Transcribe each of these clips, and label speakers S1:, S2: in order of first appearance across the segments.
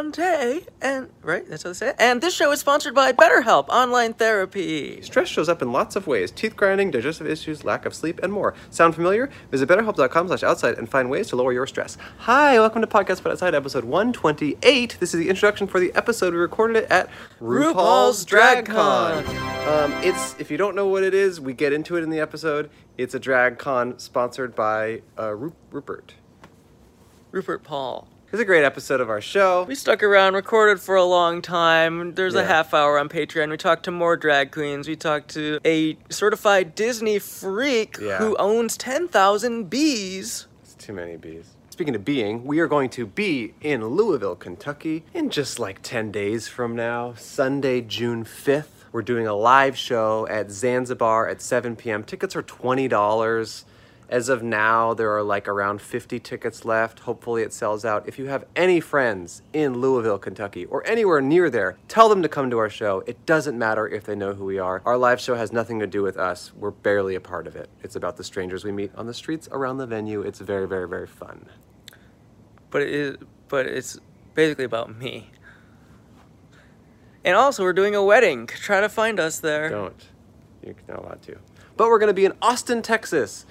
S1: Shantae, and right, that's how they say it. And this show is sponsored by BetterHelp Online Therapy.
S2: Stress shows up in lots of ways teeth grinding, digestive issues, lack of sleep, and more. Sound familiar? Visit betterhelp.com slash outside and find ways to lower your stress. Hi, welcome to Podcast But Outside, episode 128. This is the introduction for the episode. We recorded it at
S1: RuPaul's Drag Con.
S2: Um, it's, if you don't know what it is, we get into it in the episode. It's a drag con sponsored by uh, Ru- Rupert.
S1: Rupert Paul.
S2: It was a great episode of our show.
S1: We stuck around, recorded for a long time. There's a
S2: Yeah.
S1: half hour on Patreon. We talked to more drag queens. We talked to a certified Disney freak
S2: Yeah.
S1: who owns 10,000 bees.
S2: It's too many bees. Speaking of being, we are going to be in Louisville, Kentucky in just like 10 days from now, Sunday, June 5th. We're doing a live show at Zanzibar at 7 p.m. Tickets are $20. As of now, there are like around 50 tickets left. Hopefully, it sells out. If you have any friends in Louisville, Kentucky, or anywhere near there, tell them to come to our show. It doesn't matter if they know who we are. Our live show has nothing to do with us. We're barely a part of it. It's about the strangers we meet on the streets around the venue. It's very, very, very fun.
S1: But it is, but it's basically about me. And also, we're doing a wedding. Try to find us there.
S2: Don't. You're not allowed to. But we're going to be in Austin, Texas.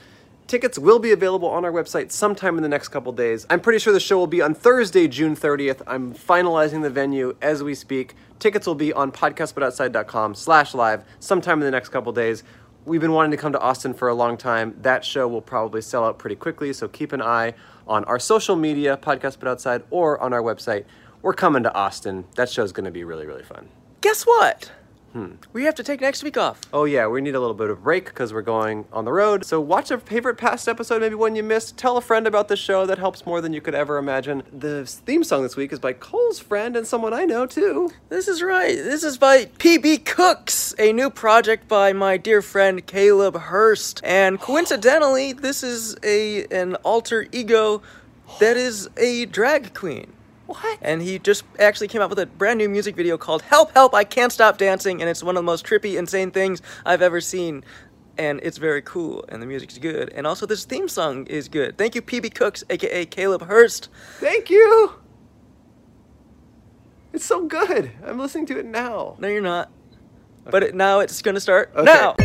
S2: Tickets will be available on our website sometime in the next couple days. I'm pretty sure the show will be on Thursday, June 30th. I'm finalizing the venue as we speak. Tickets will be on podcastbutoutside.com slash live sometime in the next couple days. We've been wanting to come to Austin for a long time. That show will probably sell out pretty quickly, so keep an eye on our social media, Podcast But Outside, or on our website. We're coming to Austin. That show's going to be really, really fun.
S1: Guess what?
S2: Hmm.
S1: We have to take next week off.
S2: Oh yeah, we need a little bit of break because we're going on the road. So watch a favorite past episode, maybe one you missed. Tell a friend about the show. That helps more than you could ever imagine. The theme song this week is by Cole's friend and someone I know too.
S1: This is right. This is by PB Cooks, a new project by my dear friend Caleb Hurst. And coincidentally, this is a an alter ego that is a drag queen.
S2: What?
S1: And he just actually came out with a brand new music video called Help Help I Can't Stop Dancing and it's one of the most trippy insane things I've ever seen. And it's very cool and the music's good. And also this theme song is good. Thank you PB Cooks aka Caleb Hurst.
S2: Thank you. It's so good. I'm listening to it now.
S1: No you're not. But it, now it's going to start
S2: Okay.
S1: now.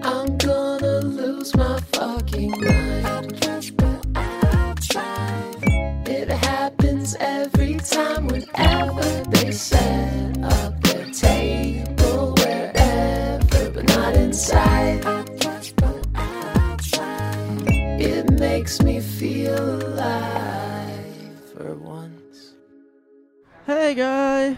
S3: I'm gonna lose my fucking mind. It happens every time whenever they set up their table wherever, but not inside. It makes me feel alive for once.
S1: Hey guys.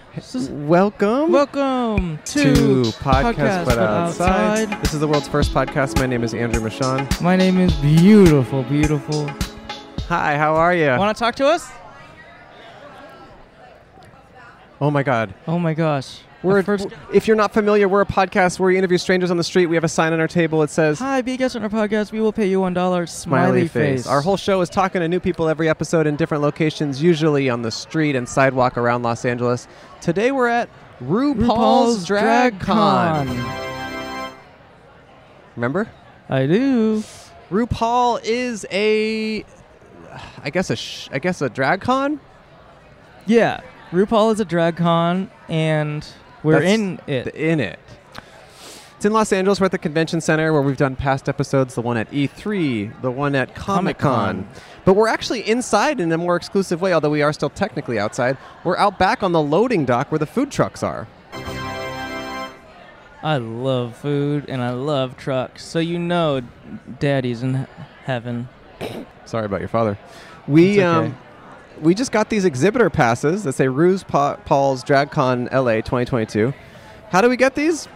S2: Welcome.
S1: Welcome
S2: To podcast, but outside. This is the world's first podcast. My name is Andrew Michon.
S4: My name is beautiful, beautiful.
S2: Hi, how are you?
S4: Want to talk to us?
S2: Oh my God,
S4: Oh my gosh.
S2: we're
S4: Our first.
S2: If you're not familiar, we're a podcast where we interview strangers on the street. We have a sign on our table that says
S4: Hi, be a guest on our podcast. We will pay you one dollar.
S2: smiley face. Our whole show is talking to new people every episode in different locations, usually on the street and sidewalk around Los Angeles. Today we're at RuPaul's,
S4: RuPaul's
S2: Drag, Con. Remember?
S4: I do.
S2: RuPaul is a I guess a sh- I guess a drag con.
S4: Yeah, RuPaul is a drag con, and we're
S2: That's
S4: in it.
S2: th- in it. It's in Los Angeles. We're at the convention center where we've done past episodes, the one at E3, the one at Comic Con.
S4: Comic-Con.
S2: But we're actually inside in a more exclusive way, although we are still technically outside. We're out back on the loading dock where the food trucks are.
S4: I love food and I love trucks, so you know, Daddy's in he- heaven.
S2: Sorry about your father. We
S4: It's okay.
S2: um, we just got these exhibitor passes that say Ruse pa- Paul's DragCon LA 2022. How do we get these?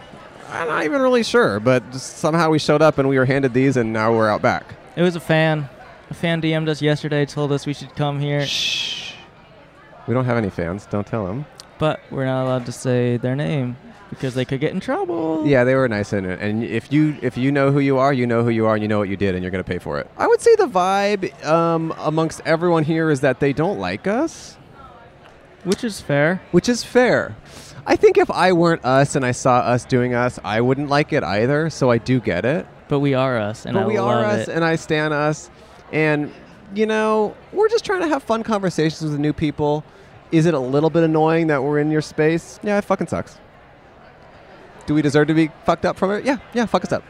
S2: I'm not even really sure, but just somehow we showed up and we were handed these, and now we're out back.
S4: It was a fan. A fan DM'd us yesterday, told us we should come here,
S2: Shh. We don't have any fans. Don't tell them.
S4: but we're not allowed to say their name because they could get in trouble.
S2: Yeah, they were nice in it. And if you if you know who you are, you know who you are, and you know what you did, and you're gonna pay for it. I would say the vibe um, amongst everyone here is that they don't like us,
S4: Which is fair.
S2: which is fair. I think if I weren't us and I saw us doing us, I wouldn't like it either. So I do get it.
S4: But we are us, and
S2: but
S4: I
S2: we
S4: love
S2: are us,
S4: it.
S2: and I stand us, and you know, we're just trying to have fun conversations with new people. Is it a little bit annoying that we're in your space? Yeah, it fucking sucks. Do we deserve to be fucked up from it? Yeah, yeah, fuck us up.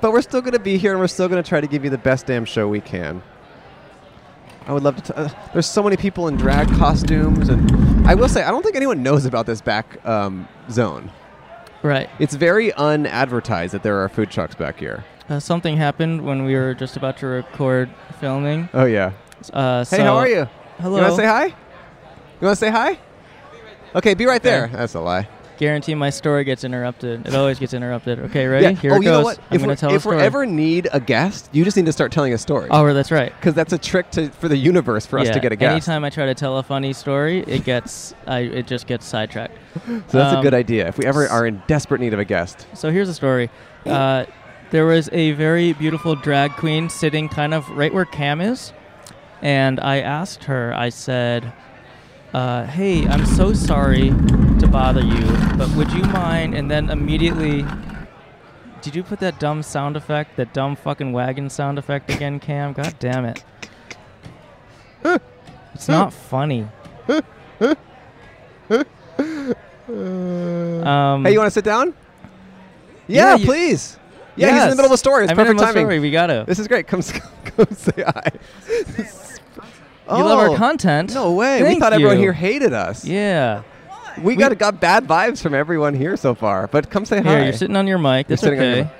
S2: But we're still going to be here and we're still going to try to give you the best damn show we can. I would love to. T- uh, there's so many people in drag costumes, and I will say I don't think anyone knows about this back um, zone.
S4: Right.
S2: It's very unadvertised that there are food trucks back here.
S4: Uh, something happened when we were just about to record filming.
S2: Oh yeah.
S4: Uh,
S2: Hey,
S4: so-
S2: how are you?
S4: Hello.
S2: You want to say hi? You want to say hi? Okay, be right there.
S4: Okay.
S2: That's a lie.
S4: Guarantee my story gets interrupted. It always gets interrupted. Okay, ready? Here
S2: oh,
S4: it
S2: you know
S4: goes.
S2: what?
S4: I'm
S2: if
S4: gonna
S2: we're,
S4: tell a
S2: if
S4: story.
S2: we ever need a guest, you just need to start telling a story.
S4: oh, that's right.
S2: Because that's a trick to for the universe for us
S4: Yeah,
S2: to get a guest.
S4: Anytime I try to tell a funny story, it gets I it just gets sidetracked.
S2: So that's a
S4: Um,
S2: good idea. If we ever are in desperate need of a guest,
S4: So here's a story. Uh, there was a very beautiful drag queen sitting kind of right where Cam is, and I asked her. I said, uh, "Hey, I'm so sorry to bother you, but would you mind?" And then immediately, did you put that dumb sound effect, that dumb fucking wagon sound effect again, Cam? God damn it! It's not funny. Um,
S2: hey, you want to sit down? Yeah,
S4: Yeah, you-
S2: please. Yeah, he's in the middle of a story. It's
S4: I'm in the
S2: perfect
S4: middle of a
S2: timing.
S4: Story. We gotta.
S2: This is great. Come, s- come say hi.
S4: You love our
S2: Oh,
S4: content.
S2: No way. we
S4: Thank
S2: thought everyone
S4: you.
S2: here hated us.
S4: Yeah.
S2: We, got got bad vibes from everyone here so far. But come say hi.
S4: Here, you're sitting on your mic.
S2: You're
S4: That's
S2: sitting on your
S4: okay.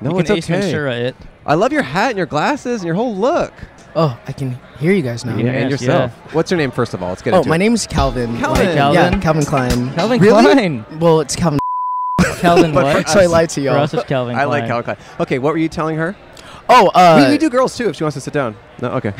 S2: mi- No,
S4: you
S2: it's
S4: can Ace
S2: okay.
S4: Ventura it.
S2: I love your hat and your glasses and your whole look.
S5: Oh, I can hear you guys now.
S4: Yeah.
S2: and
S4: Yes,
S2: yourself. What's your name, first of all? Let's get
S5: Oh,
S2: into
S5: my
S2: it.
S5: name's Calvin.
S2: Calvin.
S5: Like,
S4: Calvin.
S5: Yeah, Calvin Klein.
S4: Calvin
S2: Really?
S4: Klein.
S5: Well, it's Calvin.
S4: Calvin
S2: But
S4: what?
S2: for
S5: So I
S2: us-
S5: lied to
S4: For
S5: y'all.
S4: us, it's Calvin
S2: I like
S4: Klein.
S2: Calvin Klein. Okay, what were you telling her?
S5: Oh, uh,
S2: we, we do girls too if she wants to sit down. No, okay.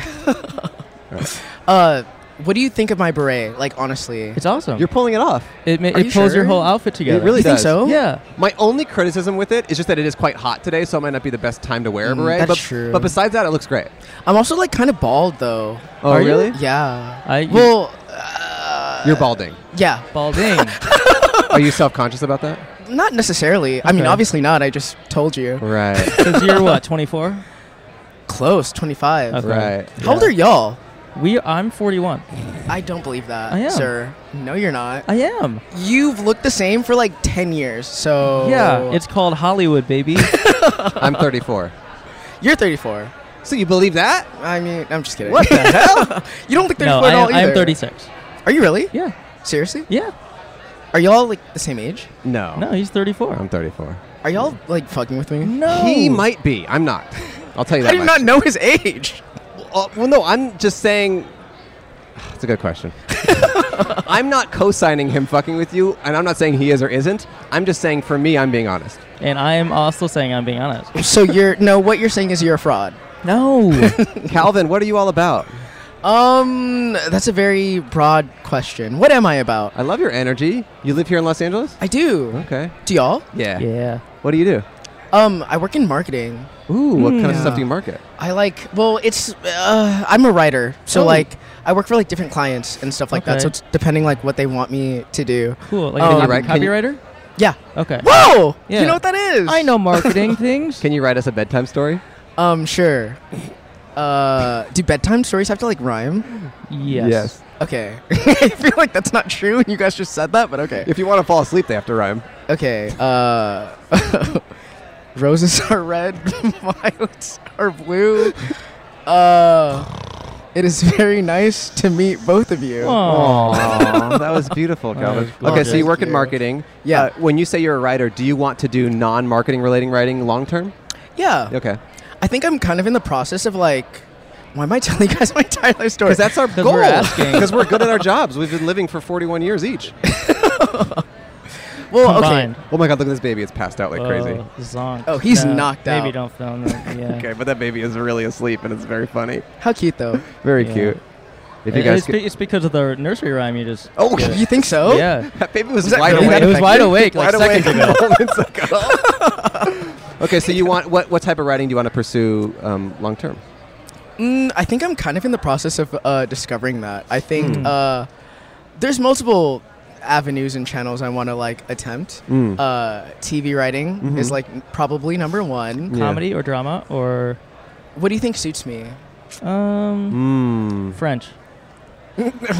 S5: Uh, what do you think of my beret? Like, honestly,
S4: It's awesome.
S2: You're pulling it off.
S4: it ma-
S5: Are
S4: it
S5: you
S4: pulls your
S5: sure?
S4: whole outfit together. Oh.
S2: It really
S5: You think
S2: does.
S5: so?
S4: Yeah.
S2: My only criticism with it is just that it is quite hot today, so it might not be the best time to wear a
S5: Mm,
S2: beret.
S5: that's
S2: but,
S5: true.
S2: But besides that, it looks great.
S5: I'm also like kind of bald though.
S2: Oh,
S4: Are you?
S2: really?
S5: Yeah.
S4: I you-
S5: well, uh,
S2: You're balding.
S5: Yeah,
S4: balding.
S2: Are you self conscious about that?
S5: not necessarily. I mean,
S4: Okay.
S5: obviously not. I just told you.
S2: Right.
S4: Cuz you're what? 24?
S5: Close, 25.
S4: Okay.
S2: right.
S5: How old are y'all?
S4: We I'm 41.
S5: I don't believe that,
S4: I am.
S5: sir. No, you're not.
S4: I am.
S5: You've looked the same for like 10 years. So
S2: Oh.
S4: Yeah, it's called Hollywood, baby.
S2: I'm 34.
S5: you're 34.
S2: So you believe that?
S5: I mean, I'm just kidding.
S2: What the hell?
S5: You don't look 34
S4: no,
S5: at
S4: I
S5: all
S4: am, I
S5: either.
S4: am 36.
S5: Are you really?
S4: Yeah.
S5: Seriously?
S4: Yeah.
S5: Are y'all like the same age?
S2: No.
S4: No, he's 34.
S2: I'm 34.
S5: Are y'all like fucking with me?
S4: No.
S2: He might be. I'm not. I'll tell you that.
S5: I did
S2: much.
S5: not know his age.
S2: Uh, well, no, I'm just saying. That's a good question. I'm not co-signing him fucking with you, and I'm not saying he is or isn't. I'm just saying for me, I'm being honest.
S4: And I am also saying I'm being honest.
S5: So you're no. What you're saying is you're a fraud.
S4: No.
S2: Calvin, what are you all about?
S5: Um, that's a very broad question. What am I about?
S2: I love your energy. You live here in Los Angeles?
S5: I do.
S2: Okay.
S5: Do y'all?
S2: Yeah.
S4: yeah.
S2: What do you do?
S5: Um, I work in marketing.
S2: Ooh, what kind of
S5: Yeah.
S2: stuff do you market?
S5: I like. Well, it's. Uh, I'm a writer, so
S2: Oh.
S5: like I work for like different clients and stuff like that.
S4: Okay.
S5: So it's depending like what they want me to do.
S4: Cool. Like
S5: Oh,
S4: a
S5: you
S4: copy-
S2: write- can you-
S4: copywriter?
S5: Yeah.
S4: Okay.
S5: Whoa!
S4: Yeah.
S5: You know what that is?
S4: I know marketing things.
S2: Can you write us a bedtime story?
S5: Um, sure. Uh, do bedtime stories have to like rhyme?
S4: Yes.
S5: Okay. I feel like that's not true, and you guys just said that, but okay.
S2: If you want to fall asleep, they have to rhyme.
S5: Okay. Uh, roses are red, violets are blue. Uh, it is very nice to meet both of you.
S2: Aww, that was beautiful,
S4: That
S2: Calvin.
S4: was
S2: okay, so you
S5: gorgeous.
S2: work in
S5: Yeah.
S2: marketing.
S5: Yeah.
S2: Uh, when you say you're a writer, do you want to do non-marketing relating writing long term?
S5: Yeah.
S2: Okay.
S5: I think I'm kind of in the process of like. Why am I telling you guys my entire story?
S2: Because that's our
S4: 'Cause
S2: goal.
S4: we're asking.
S2: Because we're good at our jobs. We've been living for 41 years each.
S5: well,
S4: Combined.
S5: okay.
S2: Oh my God! Look at this baby. It's passed out like crazy.
S4: Oh, zonked.
S5: Oh, he's knocked
S4: Maybe
S5: out.
S4: don't film that. Yeah.
S2: Okay, but that baby is really asleep, and it's very funny.
S5: How cute though.
S2: Very
S4: Yeah.
S2: cute. If you
S4: It-
S2: guys,
S4: it's, be-
S2: could,
S4: it's because of the nursery rhyme you just.
S2: Oh,
S4: did.
S5: You think so?
S4: yeah.
S2: that baby was,
S5: Was that
S2: wide
S5: really
S2: awake.
S5: that
S4: It was wide
S5: effective?
S4: awake like
S2: Wide
S4: seconds ago.
S2: awake moments ago. okay, so you want what? What type of writing do you want to pursue um, long term?
S5: Mm, I think I'm kind of in the process of uh, discovering that. I think
S4: Hmm.
S5: uh, there's multiple avenues and channels I want to like attempt.
S4: Hmm.
S2: Mm.
S5: Uh, TV writing
S2: Mhm.
S5: is like probably number one.
S2: Yeah.
S4: Comedy or drama or
S5: What do you think suits me?
S6: Um,
S2: Hmm.
S6: French.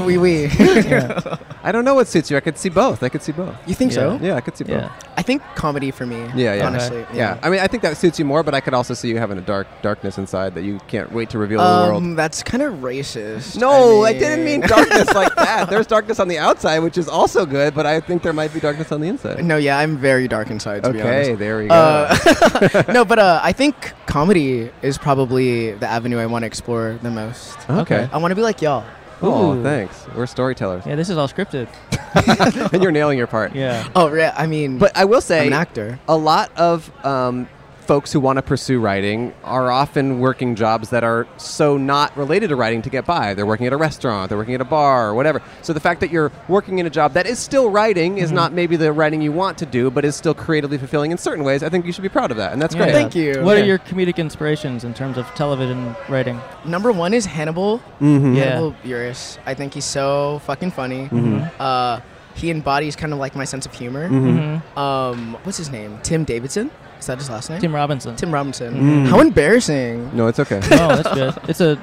S5: Wee wee.
S6: Yeah.
S2: I don't know what suits you. I could see both. I could see both.
S5: You think so?
S2: Oh. Yeah, I could see both.
S6: yeah.
S5: I think comedy for me.
S2: Yeah, yeah.
S5: Honestly.
S2: Yeah, I mean, I think that suits you more, but I could also see you having a dark darkness inside that you can't wait to reveal to the world.
S5: Um, that's kind of racist.
S2: No, I,
S5: mean-
S2: didn't mean darkness like that. There's darkness on the outside, which is also good, but I think there might be darkness on the inside.
S5: No, yeah, I'm very dark inside. To be honest.
S2: okay, there we go.
S5: Uh, no, but uh, I think comedy is probably the avenue I want to explore the most.
S2: okay.
S6: okay.
S5: I want to be like y'all.
S2: Oh,
S6: Ooh.
S2: thanks. We're storytellers,
S6: Yeah, this is all scripted.
S2: and you're nailing your part.
S6: Yeah.
S5: Oh, yeah. I mean,
S2: But I will
S5: I'm
S2: say,
S5: an actor.
S2: a lot of um, folks who want to pursue writing are often working jobs that are so not related to writing to get by. They're working at a restaurant, they're working at a bar, or whatever. So the fact that you're working in a job that is still writing
S5: Mm-hmm.
S2: is not maybe the writing you want to do, but is still creatively fulfilling in certain ways. I think you should be proud of that, and that's
S6: Yeah.
S2: great.
S5: Thank you.
S6: What
S2: Yeah.
S6: are your comedic inspirations in terms of television writing?
S5: Number one is Hannibal.
S2: Mm-hmm.
S6: Yeah.
S5: Hannibal Buress. I think he's so fucking funny.
S2: Mhm.
S5: Uh, he embodies kind of like my sense of humor.
S2: Mm-hmm.
S6: hmm
S5: Um, what's his name? Tim Davidson. Is that his last name?
S6: Tim Robinson.
S5: Tim Robinson.
S2: Mhm.
S5: How embarrassing.
S2: No, it's okay.
S6: oh, that's good. It's a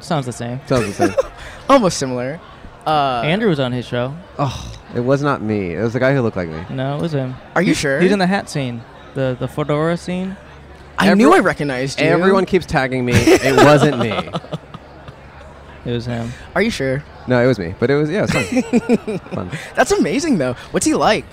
S6: sounds the same.
S2: Sounds the same.
S5: Almost similar. Uh,
S6: Andrew was on his show.
S2: Oh, it was not me. It was the guy who looked like me.
S6: No, it was him.
S5: are you
S6: He's-
S5: sure?
S6: He's in the hat scene, the the fedora scene.
S5: I
S2: every-
S5: knew I recognized you.
S2: Everyone keeps tagging me. It wasn't me.
S6: It was him.
S5: Are you sure?
S2: No, it was me. But it was yeah, it was fun. fun.
S5: That's amazing though. What's he like?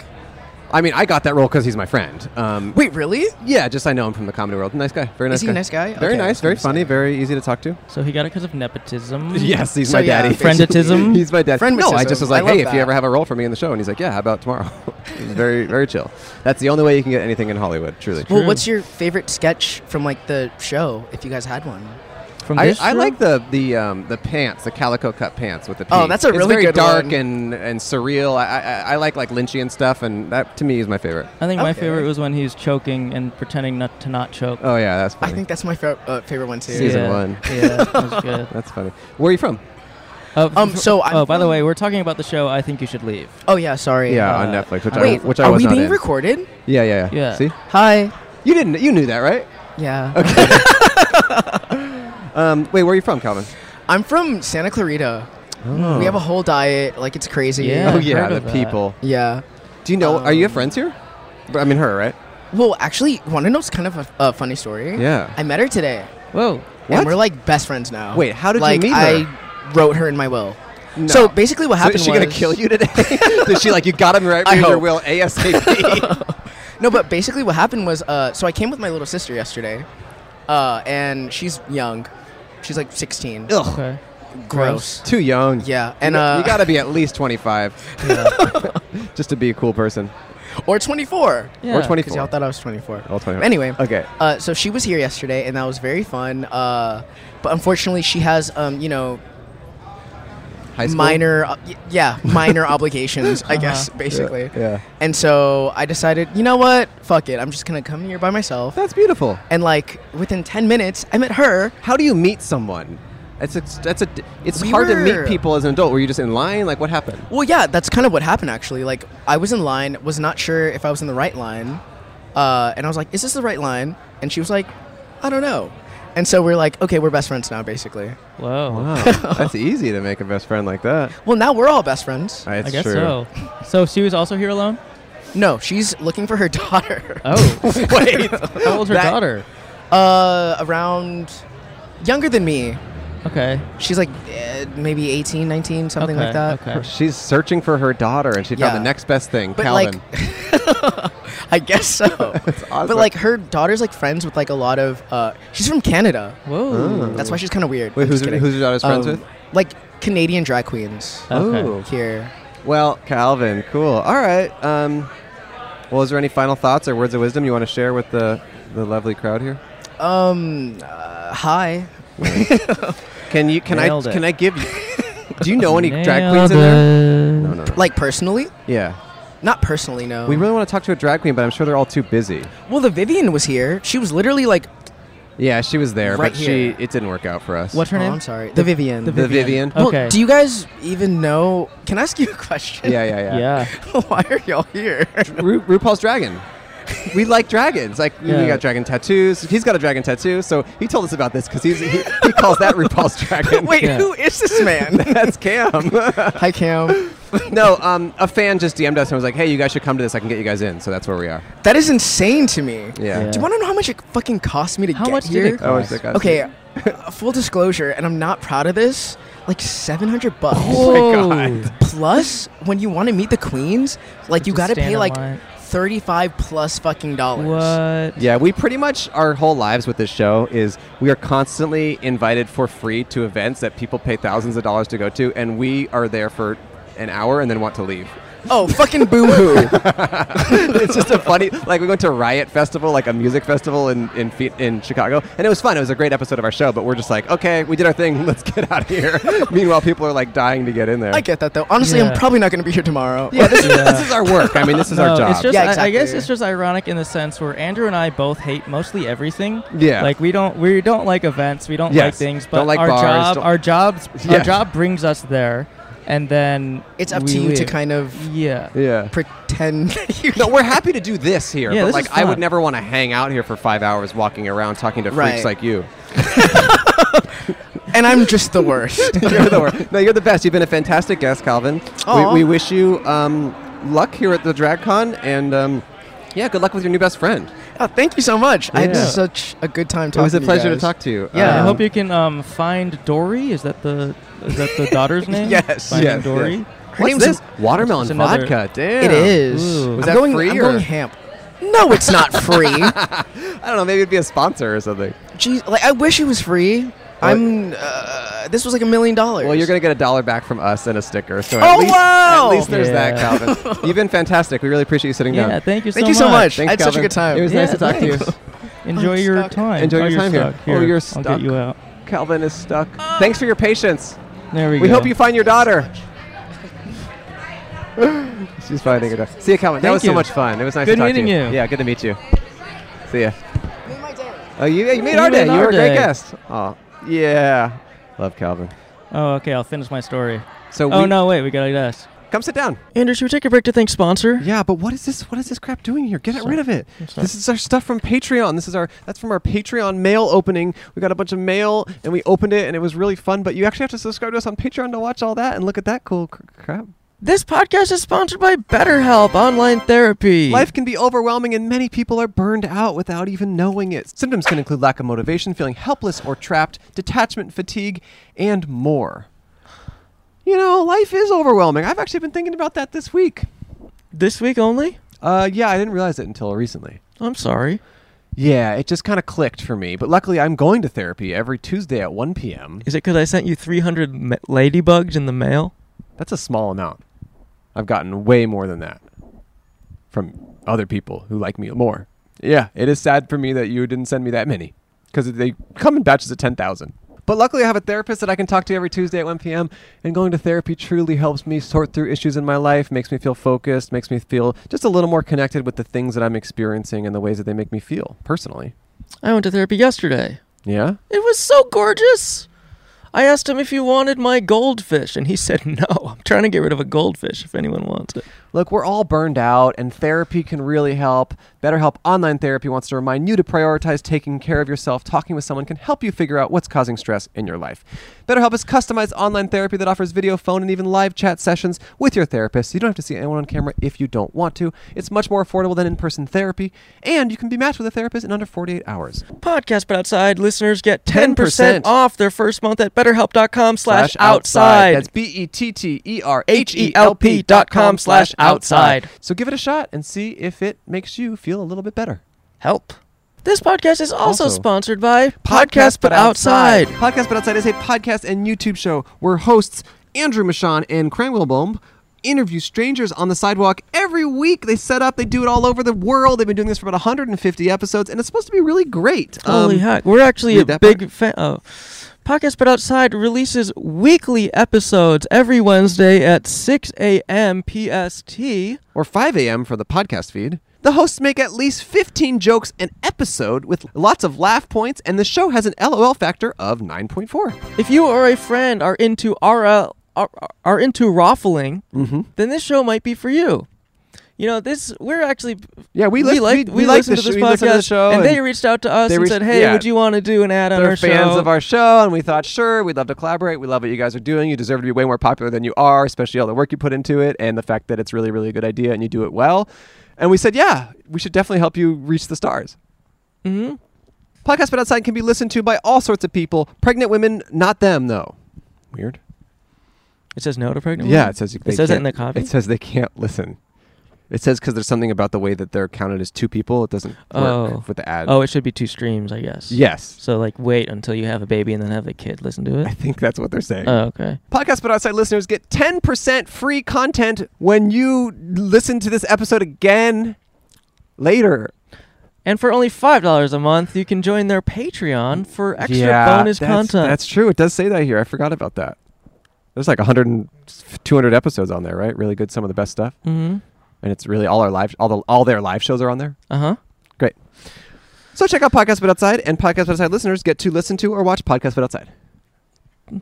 S2: I mean, I got that role because he's my friend. Um,
S5: Wait, really?
S2: Yeah, just I know him from the comedy world. Nice guy. Very nice
S5: Is he
S2: guy.
S5: a nice guy?
S2: Very
S5: Okay,
S2: nice,
S5: that's
S2: very
S5: what I'm
S2: funny,
S5: saying.
S2: very easy to talk to.
S6: So he got it because of nepotism.
S2: Yes, he's
S5: So,
S2: my
S5: yeah,
S2: daddy.
S5: basically-
S6: Friendatism?
S2: he's my daddy.
S5: Friend
S2: No, I
S5: witticism.
S2: just was
S5: I
S2: like,
S5: love
S2: hey, if
S5: that.
S2: you ever have a role for me in the show, and he's like, yeah, how about tomorrow? He's very, very chill. That's the only way you can get anything in Hollywood, truly.
S5: Well,
S6: True.
S5: what's your favorite sketch from like the show? If you guys had one.
S6: From
S2: I,
S6: this
S2: I
S6: show?
S2: like the the um, the pants, the calico cut pants with the. Peak.
S5: Oh, that's a
S2: it's
S5: really
S2: very
S5: good
S2: dark
S5: one.
S2: and and surreal. I, I I like like Lynchian stuff, and that to me is my favorite.
S6: I think my
S5: Okay.
S6: favorite was when he's choking and pretending not to not choke.
S2: Oh yeah, that's
S5: I
S2: funny.
S5: think that's my fa- uh, favorite one too.
S2: Season
S6: yeah.
S2: one.
S6: Yeah, that was good.
S2: that's funny. Where are you from?
S6: Uh,
S5: Um,
S6: f-
S5: so I'm
S6: oh, by the
S5: from-
S6: way, we're talking about the show. I think you should leave.
S5: Oh yeah, sorry.
S2: Yeah,
S6: Uh,
S2: on Netflix, which
S5: Wait,
S2: I which I
S5: are
S2: was
S5: we
S2: not
S5: being
S2: in.
S5: recorded?
S2: yeah, yeah, yeah.
S6: Yeah.
S2: See,
S5: Hi.
S2: you didn't you knew that right?
S5: Yeah.
S2: Um, wait, where are you from, Calvin?
S5: I'm from Santa Clarita.
S2: Oh.
S5: We have a whole diet, like it's crazy.
S6: Yeah.
S2: Oh
S6: I've
S2: yeah,
S6: heard
S2: the
S6: of that.
S2: people.
S5: Yeah.
S2: Do you know? are you
S5: Um,
S2: friends here? But, I mean, her, right?
S5: Well, actually, want to know it's kind of a, a funny story?
S2: Yeah.
S5: I met her today,
S6: Whoa.
S2: What?
S5: and we're like best friends now.
S2: Wait, how did you
S5: like,
S2: meet
S5: I wrote her in my will.
S2: No.
S5: So basically, what happened
S2: is she
S5: was
S2: gonna kill you today? Did she like you got him right
S5: I
S2: in your
S5: hope.
S2: will ASAP?
S5: No, but basically what happened was, uh, so I came with my little sister yesterday, uh, and she's young. She's like 16.
S2: Ugh,
S6: Okay.
S5: Gross.
S2: too young.
S5: Yeah, and
S2: You-
S5: uh,
S2: you gotta be at least twenty five
S6: Yeah.
S2: just to be a cool person.
S5: or 24.
S2: Or
S6: Yeah.
S2: twenty
S5: Because y'all
S2: four.
S5: thought I was 24.
S2: All 24.
S5: Anyway,
S2: Okay.
S5: uh, so she was here yesterday, and that was very fun. Uh, but unfortunately, she has, um, you know,
S2: High school.
S5: minor, uh, y- yeah, minor obligations, I guess,
S6: Uh-huh.
S5: basically.
S2: Yeah, yeah.
S5: And so I decided, you know what? Fuck it. I'm just gonna come here by myself.
S2: That's beautiful.
S5: And like within 10 minutes, I met her.
S2: How do you meet someone? It's a, that's a it's
S5: We
S2: hard to meet
S5: were-
S2: people as an adult. Were you just in line? Like what happened?
S5: Well, yeah, that's kind of what happened actually. Like, I was in line, was not sure if I was in the right line, uh, and I was like, "Is this the right line?" And she was like, "I don't know." And so we're like, "Okay, we're best friends now, basically."
S6: Whoa.
S2: Wow, that's easy to make a best friend like that.
S5: Well, now we're all best friends.
S2: It's
S6: I guess
S2: true.
S6: so. So she was also here alone.
S5: No, she's looking for her daughter.
S6: Oh,
S2: Wait,
S6: how old's her
S2: That-
S6: daughter?
S5: Uh, around younger than me.
S6: Okay.
S5: She's like eh, maybe 18, 19, something
S6: okay.
S5: like that.
S6: Okay.
S2: She's searching for her daughter, and she found
S5: Yeah.
S2: the next best thing,
S5: But
S2: Calvin.
S5: like, I guess so.
S2: awesome.
S5: But like, her daughter's like friends with like a lot of. Uh, she's from Canada.
S6: Whoa.
S5: That's why she's kind of weird.
S2: Oh. Wait,
S5: I'm
S2: who's,
S5: just
S2: your-
S5: kidding.
S2: who's your daughter's friends
S5: Um,
S2: with?
S5: Like Canadian drag queens
S6: Okay.
S2: Oh,
S5: here.
S2: well, Calvin, cool. All right. Um, well, is there any final thoughts or words of wisdom you want to share with the, the lovely crowd here?
S5: Um, uh, hi.
S2: Can you? Can
S6: Nailed
S2: I?
S6: it.
S2: Can I give? you Do you know any drag
S6: Nailed
S2: queens in there?
S6: it.
S2: No, no, no.
S5: Like personally,
S2: Yeah,
S5: not personally. No.
S2: we really want to talk to a drag queen, but I'm sure they're all too busy.
S5: well. The Vivian was here. She was literally like.
S2: Yeah, she was there,
S5: Right
S2: but she
S5: here.
S2: it didn't work out for us.
S6: What's her
S5: Oh,
S6: name?
S5: I'm sorry. The Vivian.
S6: the
S2: the Vivian?
S6: Oh.
S5: Well,
S6: Okay.
S5: do you guys even know? Can I ask you a question?
S2: Yeah, yeah, yeah.
S6: Yeah.
S5: Why are y'all here?
S2: Ru- RuPaul's Dragon. we like dragons. Like we- we
S6: Yeah.
S2: got dragon tattoos. He's got a dragon tattoo, so he told us about this because he's he, he calls that RuPaul's dragon.
S5: Wait,
S6: Yeah.
S5: who is this man?
S2: that's Cam.
S5: Hi, Cam.
S2: no, um, a fan just DM'd us and was like, "Hey, you guys should come to this. I can get you guys in." So that's where we are.
S5: That is insane to me.
S2: Yeah.
S6: Yeah.
S5: Do you want to know how much it fucking cost me to
S6: How
S5: get
S6: much did
S5: here?
S6: it cost?
S2: Oh, it's like us.
S5: Okay, uh, full disclosure, and I'm not proud of this. Like 700 bucks.
S2: Oh my God.
S5: Plus, when you want to meet the queens, like you
S6: Just
S5: got to
S6: stand
S5: pay
S6: in
S5: like
S6: line.
S5: 35 plus fucking dollars.
S6: What?
S2: Yeah, we pretty much our whole lives with this show is we are constantly invited for free to events that people pay thousands of dollars to go to, and we are there for an hour and then want to leave.
S5: Oh, fucking boo hoo.
S2: it's just a funny like we went to riot festival like a music festival in in Fe- in chicago and it was fun it was a great episode of our show but we're just like okay we did our thing let's get out of here meanwhile people are like dying to get in there
S5: I get that though. Honestly,
S6: Yeah.
S5: I'm probably not going to be here tomorrow.
S2: yeah this,
S6: Yeah.
S2: this is our work i mean this is our job
S6: Um, It's just,
S5: Yeah,
S6: I, I
S5: exactly.
S6: guess it's just ironic in the sense where Andrew and I both hate mostly everything.
S2: Yeah.
S6: Like we don't we don't like events, we don't like
S2: Yes.
S6: things,
S2: Don't
S6: but
S2: like
S6: our
S2: bars,
S6: job
S2: don't-
S6: our jobs
S2: Yeah.
S6: our job brings us there and then
S5: It's up
S6: we
S5: to you to
S6: leave.
S5: kind of
S6: Yeah.
S2: yeah
S5: pretend that you
S2: no we're happy to do this here
S6: Yeah,
S2: but
S6: this
S2: like
S6: is
S2: i would
S6: fun.
S2: never want to hang out here for five hours walking around talking to freaks
S5: Right.
S2: like you
S5: and I'm just the worst.
S2: you're the worst. no you're the best you've been a fantastic guest calvin we,
S5: Aw.
S2: we wish you um, luck here at the drag con and um, yeah good luck with your new best friend
S5: oh, thank you so much. I had
S2: Yeah.
S5: such a good time
S2: it
S5: talking.
S2: was a
S5: you
S2: pleasure to
S5: guys.
S2: talk to you
S5: Yeah.
S6: I
S2: Um,
S6: hope you can um, find Dory. Is that the is that the daughter's name?
S2: Yes,
S6: Finding
S2: yes,
S6: Dory.
S2: yes.
S5: Her
S2: What's
S5: name's-
S2: this? Watermelon
S6: It's another-
S2: vodka. Damn.
S5: It is.
S6: Ooh. Was
S2: that
S5: I'm going,
S2: free
S5: I'm
S2: or-
S5: going ham. No, it's not free.
S2: I don't know. Maybe it'd be a sponsor or something.
S5: Jeez, like I wish it was free. I'm. Uh, this was like a million dollars.
S2: Well, you're gonna get a dollar back from us and a sticker. So at
S5: Oh,
S2: least,
S5: wow!
S2: at least there's that,
S6: Yeah.
S2: Calvin. You've been fantastic. We really appreciate you sitting
S6: Yeah,
S2: down.
S6: thank you so
S5: Thank
S6: much.
S5: you so much.
S2: Thanks,
S5: I had such
S2: Calvin.
S5: a good time.
S2: It was
S6: Yeah,
S2: nice to talk to
S6: thanks.
S2: you.
S6: Enjoy
S5: I'm
S6: your
S5: stuck.
S6: time.
S2: Enjoy
S6: Oh,
S2: your
S6: you're
S2: time here.
S6: stuck
S2: Oh, you're stuck.
S6: I'll get you out.
S2: Calvin is stuck. Thanks for your patience.
S6: There we,
S2: We
S6: go.
S2: hope you find your daughter. She's finding her daughter. See you, Calvin. that
S6: Thank
S2: was so
S6: you.
S2: much fun. It was nice to
S6: Good
S2: talk
S6: meeting
S2: to you.
S6: you.
S2: Yeah, good to meet you. See ya.
S5: Made my day.
S2: Oh, you, you made
S6: You
S2: our
S6: made
S2: day. you
S6: our
S2: were a great
S6: day.
S2: guest. Oh, yeah. Love Calvin.
S6: Oh, okay. I'll finish my story.
S2: So
S6: Oh
S2: we-
S6: no, wait. We gotta ask.
S2: Come sit down.
S6: Andrew, should we take a break to thank sponsor?
S2: Yeah, but what is this? What is this crap doing here? Get it rid of it.
S6: sorry.
S2: This is our stuff from Patreon. This is our that's from our Patreon mail opening. We got a bunch of mail and we opened it and it was really fun. But you actually have to subscribe to us on Patreon to watch all that and look at that cool cr- crap.
S6: This podcast is sponsored by BetterHelp Online Therapy.
S2: Life can be overwhelming, and many people are burned out without even knowing it. Symptoms can include lack of motivation, feeling helpless or trapped, detachment, fatigue, and more. You know, life is overwhelming. I've actually been thinking about that this week.
S6: this week only.
S2: Uh, yeah, I didn't realize it until recently.
S6: I'm sorry.
S2: Yeah, it just kind of clicked for me. But luckily, I'm going to therapy every Tuesday at 1 p.m.
S6: Is it because I sent you 300 ma- ladybugs in the mail?
S2: That's a small amount. I've gotten way more than that from other people who like me more. Yeah, it is sad for me that you didn't send me that many because they come in batches of 10,000. But luckily, I have a therapist that I can talk to every Tuesday at 1 p.m. And going to therapy truly helps me sort through issues in my life, makes me feel focused, makes me feel just a little more connected with the things that I'm experiencing and the ways that they make me feel personally.
S6: I went to therapy yesterday.
S2: Yeah?
S6: It was so gorgeous. I asked him if he wanted my goldfish, and he said no. I'm trying to get rid of a goldfish if anyone wants it.
S2: Look, we're all burned out, and therapy can really help. BetterHelp Online Therapy wants to remind you to prioritize taking care of yourself. Talking with someone can help you figure out what's causing stress in your life. BetterHelp is customized online therapy that offers video, phone, and even live chat sessions with your therapist. You don't have to see anyone on camera if you don't want to. It's much more affordable than in person therapy, and you can be matched with a therapist in under 48 hours.
S6: Podcast But Outside listeners get 10%,
S2: 10%
S6: off their first month at betterhelp.com slash
S2: That's
S6: outside.
S2: B E T T E R H E L P
S6: H-E-L-P
S2: dot
S6: dot
S2: com
S6: com
S2: slash
S6: slash
S2: outside.
S6: outside.
S2: So give it a shot and see if it makes you feel a little bit better.
S6: Help. This podcast is also,
S2: Also-
S6: sponsored by Podcast But Outside.
S2: Podcast But Outside is a podcast and YouTube show where hosts Andrew Michon and Cranwellbomb interview strangers on the sidewalk every week. They set up, they do it all over the world. They've been doing this for about 150 episodes, and it's supposed to be really great.
S6: Holy
S2: Um,
S6: heck. We're actually
S2: read
S6: a
S2: that
S6: big fan. Oh. Podcast But Outside releases weekly episodes every Wednesday at 6 a.m. PST.
S2: or 5 a.m. for the podcast feed. The hosts make at least 15 jokes an episode with lots of laugh points, and the show has an LOL factor of 9.4.
S6: If you or a friend are
S2: Mm-hmm.
S6: into RL, are, are into raffling, then this show might be for you. you know, this we're actually
S2: Yeah, we
S6: we
S2: lis-
S6: like
S2: we-
S6: we,
S2: we like
S6: listen
S2: the
S6: to this
S2: sh- we
S6: podcast,
S2: listen to the show
S6: and,
S2: and
S6: they reached out to us
S2: they
S6: and
S2: reached-
S6: said, "Hey,
S2: yeah.
S6: would you want to do an ad on
S2: They're
S6: our
S2: fans
S6: show?"
S2: of our show, and we thought, sure, we'd love to collaborate. We love what you guys are doing. You deserve to be way more popular than you are, especially all the work you put into it and the fact that it's really, really good idea and you do it well. And we said, yeah, we should definitely help you reach the stars.
S6: Mhm.
S2: Podcast But Outside can be listened to by all sorts of people. Pregnant women, not them, though. Weird.
S6: It says no to pregnant.
S2: Yeah,
S6: women?
S2: it says you,
S6: Mm. it
S2: they
S6: says it
S2: can't-
S6: in the copy.
S2: It says they can't listen. It says because there's something about the way that they're counted as two people. It doesn't
S6: Oh.
S2: work with the ad.
S6: oh, it should be two streams, I guess.
S2: yes.
S6: So like, wait until you have a baby and then have the kid listen to
S2: I
S6: it.
S2: think that's what they're saying.
S6: Oh, okay.
S2: Podcast But Outside listeners get 10% free content when you listen to this episode again later.
S6: And for only five dollars a month, you can join their Patreon for extra bonus
S2: that's,
S6: content.
S2: That's true. It does say that here. I forgot about that. There's like 100 and 200 episodes on there, right? Really good. Some of the best stuff.
S6: mm-hmm.
S2: And it's really all our live, all, the, all their live shows are on there.
S6: Uh huh.
S2: Great. So check out Podcast But Outside, and Podcast But Outside listeners get to listen to or watch Podcast But Outside.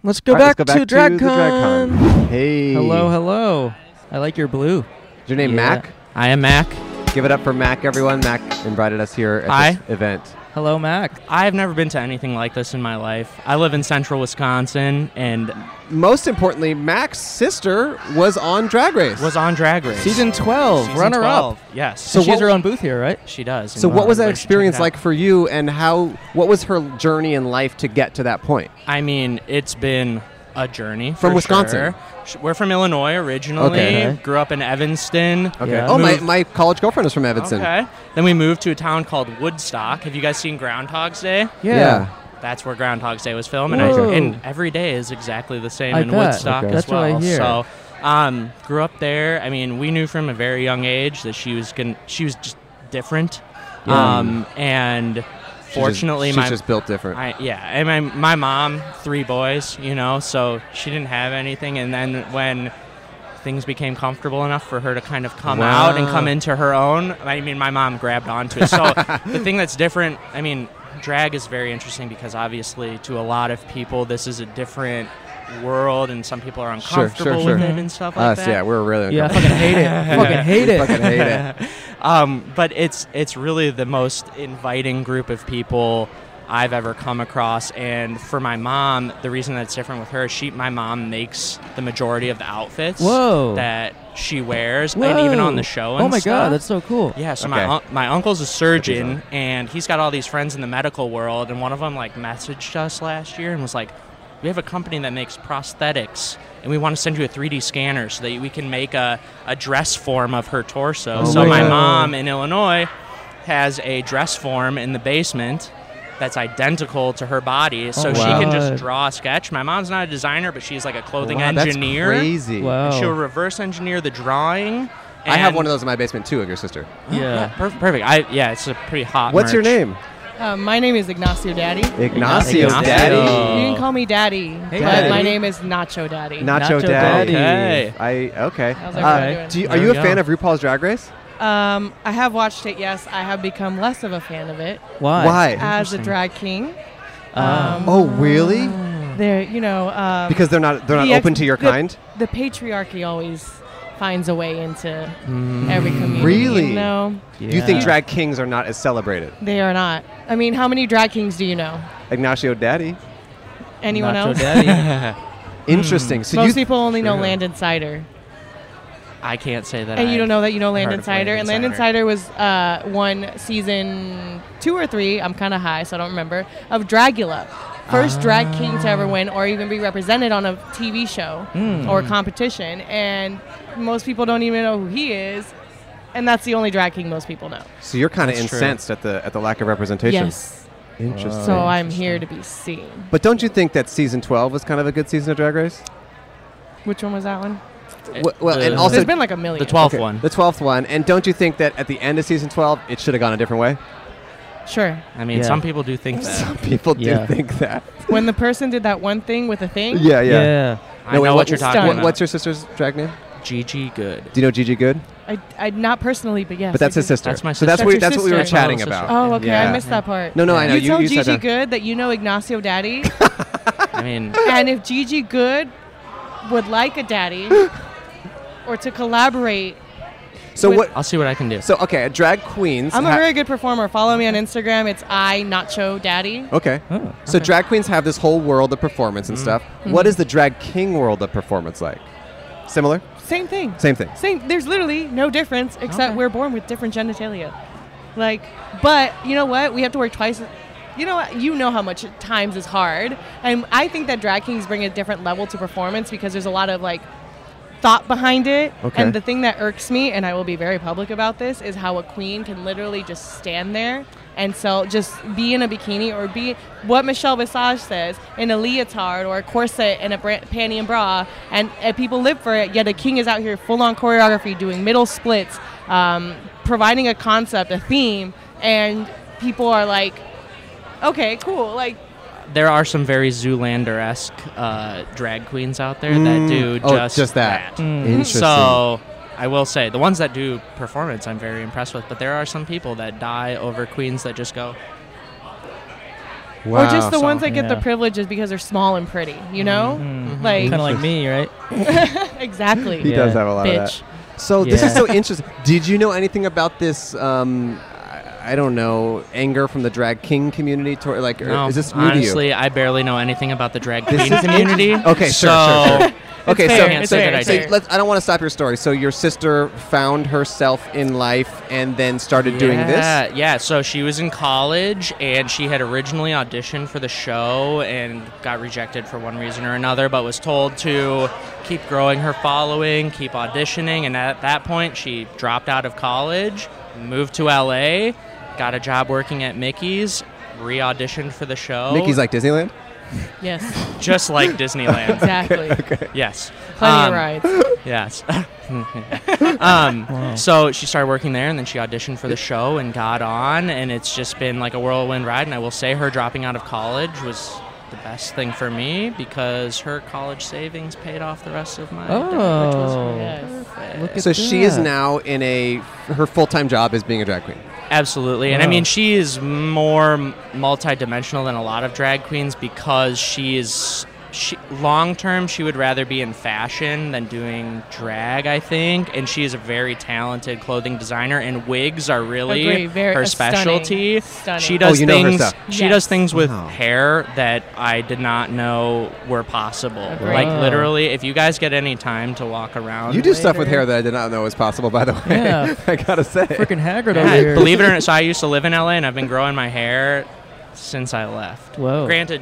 S6: Let's go
S2: All right,
S6: back,
S2: let's go back
S6: to
S2: to the
S6: DragCon.
S2: DragCon. Hey.
S6: Hello, hello. I like your blue.
S2: Is your name
S6: Yeah.
S2: Mac?
S4: I am Mac.
S2: Give it up for Mac, everyone. Mac invited us here at
S4: Hi.
S2: this event.
S6: Hello, Mac.
S4: I've never been to anything like this in my life. I live in central Wisconsin and
S2: Most importantly, Mac's sister was on Drag Race.
S4: was on Drag Race.
S6: Season 12,
S4: Season
S6: runner
S4: 12,
S6: up.
S4: Yes.
S6: So she has
S2: what-
S6: her own booth here, right?
S4: she does.
S2: so
S4: and
S2: what was that
S4: everybody should check it
S2: experience
S4: out.
S2: like for you, and how? What was her journey in life to get to that point?
S4: I mean, it's been a journey
S2: From
S4: for
S2: Wisconsin?
S4: sure. Sh- We're from Illinois originally.
S2: Okay.
S4: Grew up in Evanston.
S2: Okay.
S6: Yeah.
S2: Oh, my,
S4: Moved-
S2: my college girlfriend is from Evanston.
S4: Okay. Then we moved to a town called Woodstock. Have you guys seen Groundhog's Day?
S2: Yeah.
S4: That's where Groundhog's Day was filmed, and, I,
S6: Whoa.
S4: and every day is exactly the same
S6: I
S4: in
S6: bet.
S4: Woodstock
S2: Okay.
S4: as
S6: That's what I
S4: well.
S6: hear.
S4: So, um, grew up there. I mean, we knew from a very young age that she was going she was just different,
S2: Yeah.
S4: um, and
S2: She's just-
S4: fortunately,
S2: she's
S4: my
S2: just built different.
S4: I, yeah, and my my mom, three boys, you know, so she didn't have anything. And then when things became comfortable enough for her to kind of come out and
S2: Wow.
S4: come into her own, I mean, my mom grabbed onto it. So the thing that's different, I mean, drag is very interesting because obviously to a lot of people this is a different world, and some people are
S2: Sure, sure,
S4: uncomfortable with
S2: sure.
S4: it and stuff
S2: Us,
S4: like that
S2: yeah, we're really
S6: Yeah, I
S2: uncomfortable.
S6: fucking hate it. I fucking hate
S2: We
S6: it.
S2: fucking hate it.
S4: um, but it's it's really the most inviting group of people I've ever come across. And for my mom, the reason that's different with her, she my mom makes the majority of the outfits
S6: Whoa.
S4: that she wears, and even on the show. And
S6: oh my
S4: stuff.
S6: god, that's so cool.
S4: Yeah, so
S2: Okay.
S4: my un- my uncle's a
S2: Put these
S4: surgeon, and he's got all these friends in the medical world, and one of them like messaged us last year and was like, "We have a company that makes prosthetics, and we want to send you a 3D scanner so that we can make a, a dress form of her torso."
S2: Oh
S4: so
S2: my
S4: my
S2: God.
S4: mom in Illinois has a dress form in the basement that's identical to her body, so
S6: Oh,
S4: she
S6: wow.
S4: can just
S6: God.
S4: draw a sketch. My mom's not a designer, but she's like a clothing
S2: Wow, that's
S4: engineer.
S2: crazy. Oh.
S6: Wow.
S4: She'll reverse engineer the drawing.
S2: I have
S4: and-
S2: one of those in my basement too of your sister.
S6: Yeah.
S4: Per- perfect. I yeah, it's a pretty hot.
S2: What's your
S4: merch.
S2: name?
S7: Uh, my name is Ignacio Daddy.
S2: Ignacio,
S6: Ignacio.
S2: Daddy.
S7: You can call me Daddy,
S6: Hey,
S7: but
S6: Daddy.
S7: my name is Nacho Daddy.
S2: Nacho,
S6: Nacho
S2: Daddy.
S4: Daddy.
S2: I okay. Uh,
S7: How's everybody doing?
S2: do you, are
S4: There
S2: you
S4: we
S2: a fan
S4: go.
S2: of RuPaul's Drag Race?
S7: um, I have watched it. Yes, I have become less of a fan of it
S6: Why?
S7: as a drag king. Um,
S2: Oh, really?
S7: they're you know um,
S2: Because they're not they're not
S7: the ex-
S2: open to your
S7: the-
S2: kind.
S7: The patriarchy always finds a way into every community.
S2: Mm. Really?
S7: You know,
S2: You think
S6: Yeah.
S2: drag kings are not as celebrated?
S7: they are not. I mean, how many drag kings do you know?
S2: Ignacio Daddy.
S7: Anyone
S6: Nacho
S7: else?
S6: Daddy.
S2: Interesting.
S4: Hmm.
S2: So
S7: Most
S2: you
S7: people only know
S2: Sure.
S7: Landon Cider.
S4: I can't say that.
S7: And you don't know that you know
S4: heard
S7: Landon
S4: of
S7: Sider. And
S4: Landon
S7: Landon Sider was uh, one season two or three, I'm kind of high, so I don't remember, of Dragula. First drag king to ever win or even be represented on a TV show or competition. And most people don't even know who he is. And that's the only drag king most people know.
S2: so you're kind of
S4: That's true.
S2: incensed at the at the lack of representation.
S7: Yes.
S2: Oh, Interesting.
S7: So I'm here to be seen.
S2: but don't you think that season 12 was kind of a good season of Drag Race?
S7: Which one was that one?
S2: Well, well, and
S4: the-
S2: also
S7: There's been like a million.
S4: the twelfth
S2: Okay,
S4: one.
S2: the 12th one. And don't you think that at the end of season 12 it should have gone a different way?
S7: Sure.
S4: I mean,
S6: Yeah.
S4: some people do think that.
S2: People
S6: Yeah.
S2: do think that.
S7: When the person did that one thing with a thing,
S2: Yeah, yeah.
S6: yeah.
S4: I know
S2: wait,
S4: what, you're talking
S7: Stunning.
S2: what-
S4: about.
S2: What's your sister's drag name?
S4: Gigi Good?
S2: Do you know Gigi Good?
S7: I, I, not personally, but yes.
S2: But that's
S7: I
S2: his
S7: do.
S2: sister.
S4: That's my
S2: So that's,
S4: sister.
S2: we,
S7: That's your
S2: that's what we were
S7: sister.
S2: chatting
S4: Oh,
S2: about.
S4: sister.
S7: Oh, okay.
S2: Yeah.
S7: I missed that part.
S2: No, no, I know.
S7: You,
S2: You-
S7: tell
S2: you said
S7: Gigi
S2: that.
S7: Good that you know Ignacio Daddy,
S4: I mean,
S7: and if Gigi Good would like a daddy or to collaborate
S2: So
S7: Would-
S2: what?
S4: I'll see what I can do.
S2: So okay, a drag queens.
S7: I'm a
S2: ha-
S7: very good performer. Follow me on Instagram. It's I Nacho Daddy.
S2: Okay.
S6: Oh,
S2: So drag queens have this whole world of performance
S4: Mm.
S2: and stuff. What is the drag king world of performance like? Similar?
S7: Same thing.
S2: Same thing.
S7: Same. There's literally no difference except
S4: Okay.
S7: we're born with different genitalia. Like, but you know what? We have to work twice. You know what? You know how much times is hard, and I think that drag kings bring a different level to performance because there's a lot of like thought behind it.
S2: Okay.
S7: And the thing that irks me, and I will be very public about this, is how a queen can literally just stand there and so just be in a bikini or be what Michelle Visage says in a leotard or a corset and a bra- panty and bra, and, and people live for it. Yet a king is out here full on choreography, doing middle splits, um, providing a concept, a theme, and people are like, okay, cool, like.
S4: there are some very Zoolander esque uh, drag queens out there that do
S2: Oh,
S4: just, Mm.
S2: just that. Interesting.
S4: So I will say the ones that do performance, I'm very impressed with. But there are some people that die over queens that just go.
S2: wow.
S7: or just the ones that get the
S6: yeah.
S7: privileges because they're small and pretty, you know?
S2: Mm-hmm.
S7: Like,
S6: kind of like me, right?
S7: exactly.
S2: He does have a lot of
S7: Bitch.
S2: that. So this is
S6: Yeah.
S2: so interesting. Did you know anything about this? Um, I, I don't know anger from the drag king community. Toward, like, or
S4: No,
S2: is this new to
S4: honestly, I barely know anything about the drag
S2: This
S4: queen
S2: is
S4: community.
S2: you? Okay, sure,
S4: so
S2: sure, sure. Okay,
S4: fair,
S2: so,
S4: it's
S2: so,
S4: fair, it's
S2: so
S4: fair.
S2: let's, I don't want to stop your story. So your sister found herself in life and then started doing this.
S4: Yeah, yeah. So she was in college and she had originally auditioned for the show and got rejected for one reason or another, but was told to keep growing her following, keep auditioning. And at that point, she dropped out of college, moved to LA, got a job working at Mickey's, re auditioned for the show.
S2: Mickey's like Disneyland.
S7: Yes,
S4: just like Disneyland.
S7: exactly.
S4: yes. Um,
S7: Plenty of rides.
S4: Yes. um, So she started working there, and then she auditioned for the show and got on, and it's just been like a whirlwind ride. And I will say, her dropping out of college was the best thing for me because her college savings paid off the rest of my debt, which was
S6: Oh.
S7: Yes.
S6: Look at
S2: So she is
S6: that.
S2: now in a her full time job is being a drag queen.
S4: Absolutely. And I
S6: Wow.
S4: mean, she is more m- multidimensional than a lot of drag queens because she is she, long term she would rather be in fashion than doing drag, I think. And she is a very talented clothing designer and wigs are really
S7: Agree. Very-
S4: her
S7: uh, stunning.
S4: specialty.
S7: Stunning.
S4: She does
S2: Oh, you know her
S4: things
S2: stuff.
S4: she
S7: Yes.
S4: does things with
S2: Wow.
S4: hair that I did not know were possible.
S7: Agree.
S4: Like
S6: Wow.
S4: literally, if you guys get any time to walk around
S2: You do stuff with hair that I did not know was possible. By the way,
S6: Yeah.
S2: I gotta say.
S6: Freaking Haggard
S4: Yeah,
S6: over here.
S4: Believe it or not, so I used to live in LA and I've been growing my hair since I left.
S6: Whoa.
S4: Granted,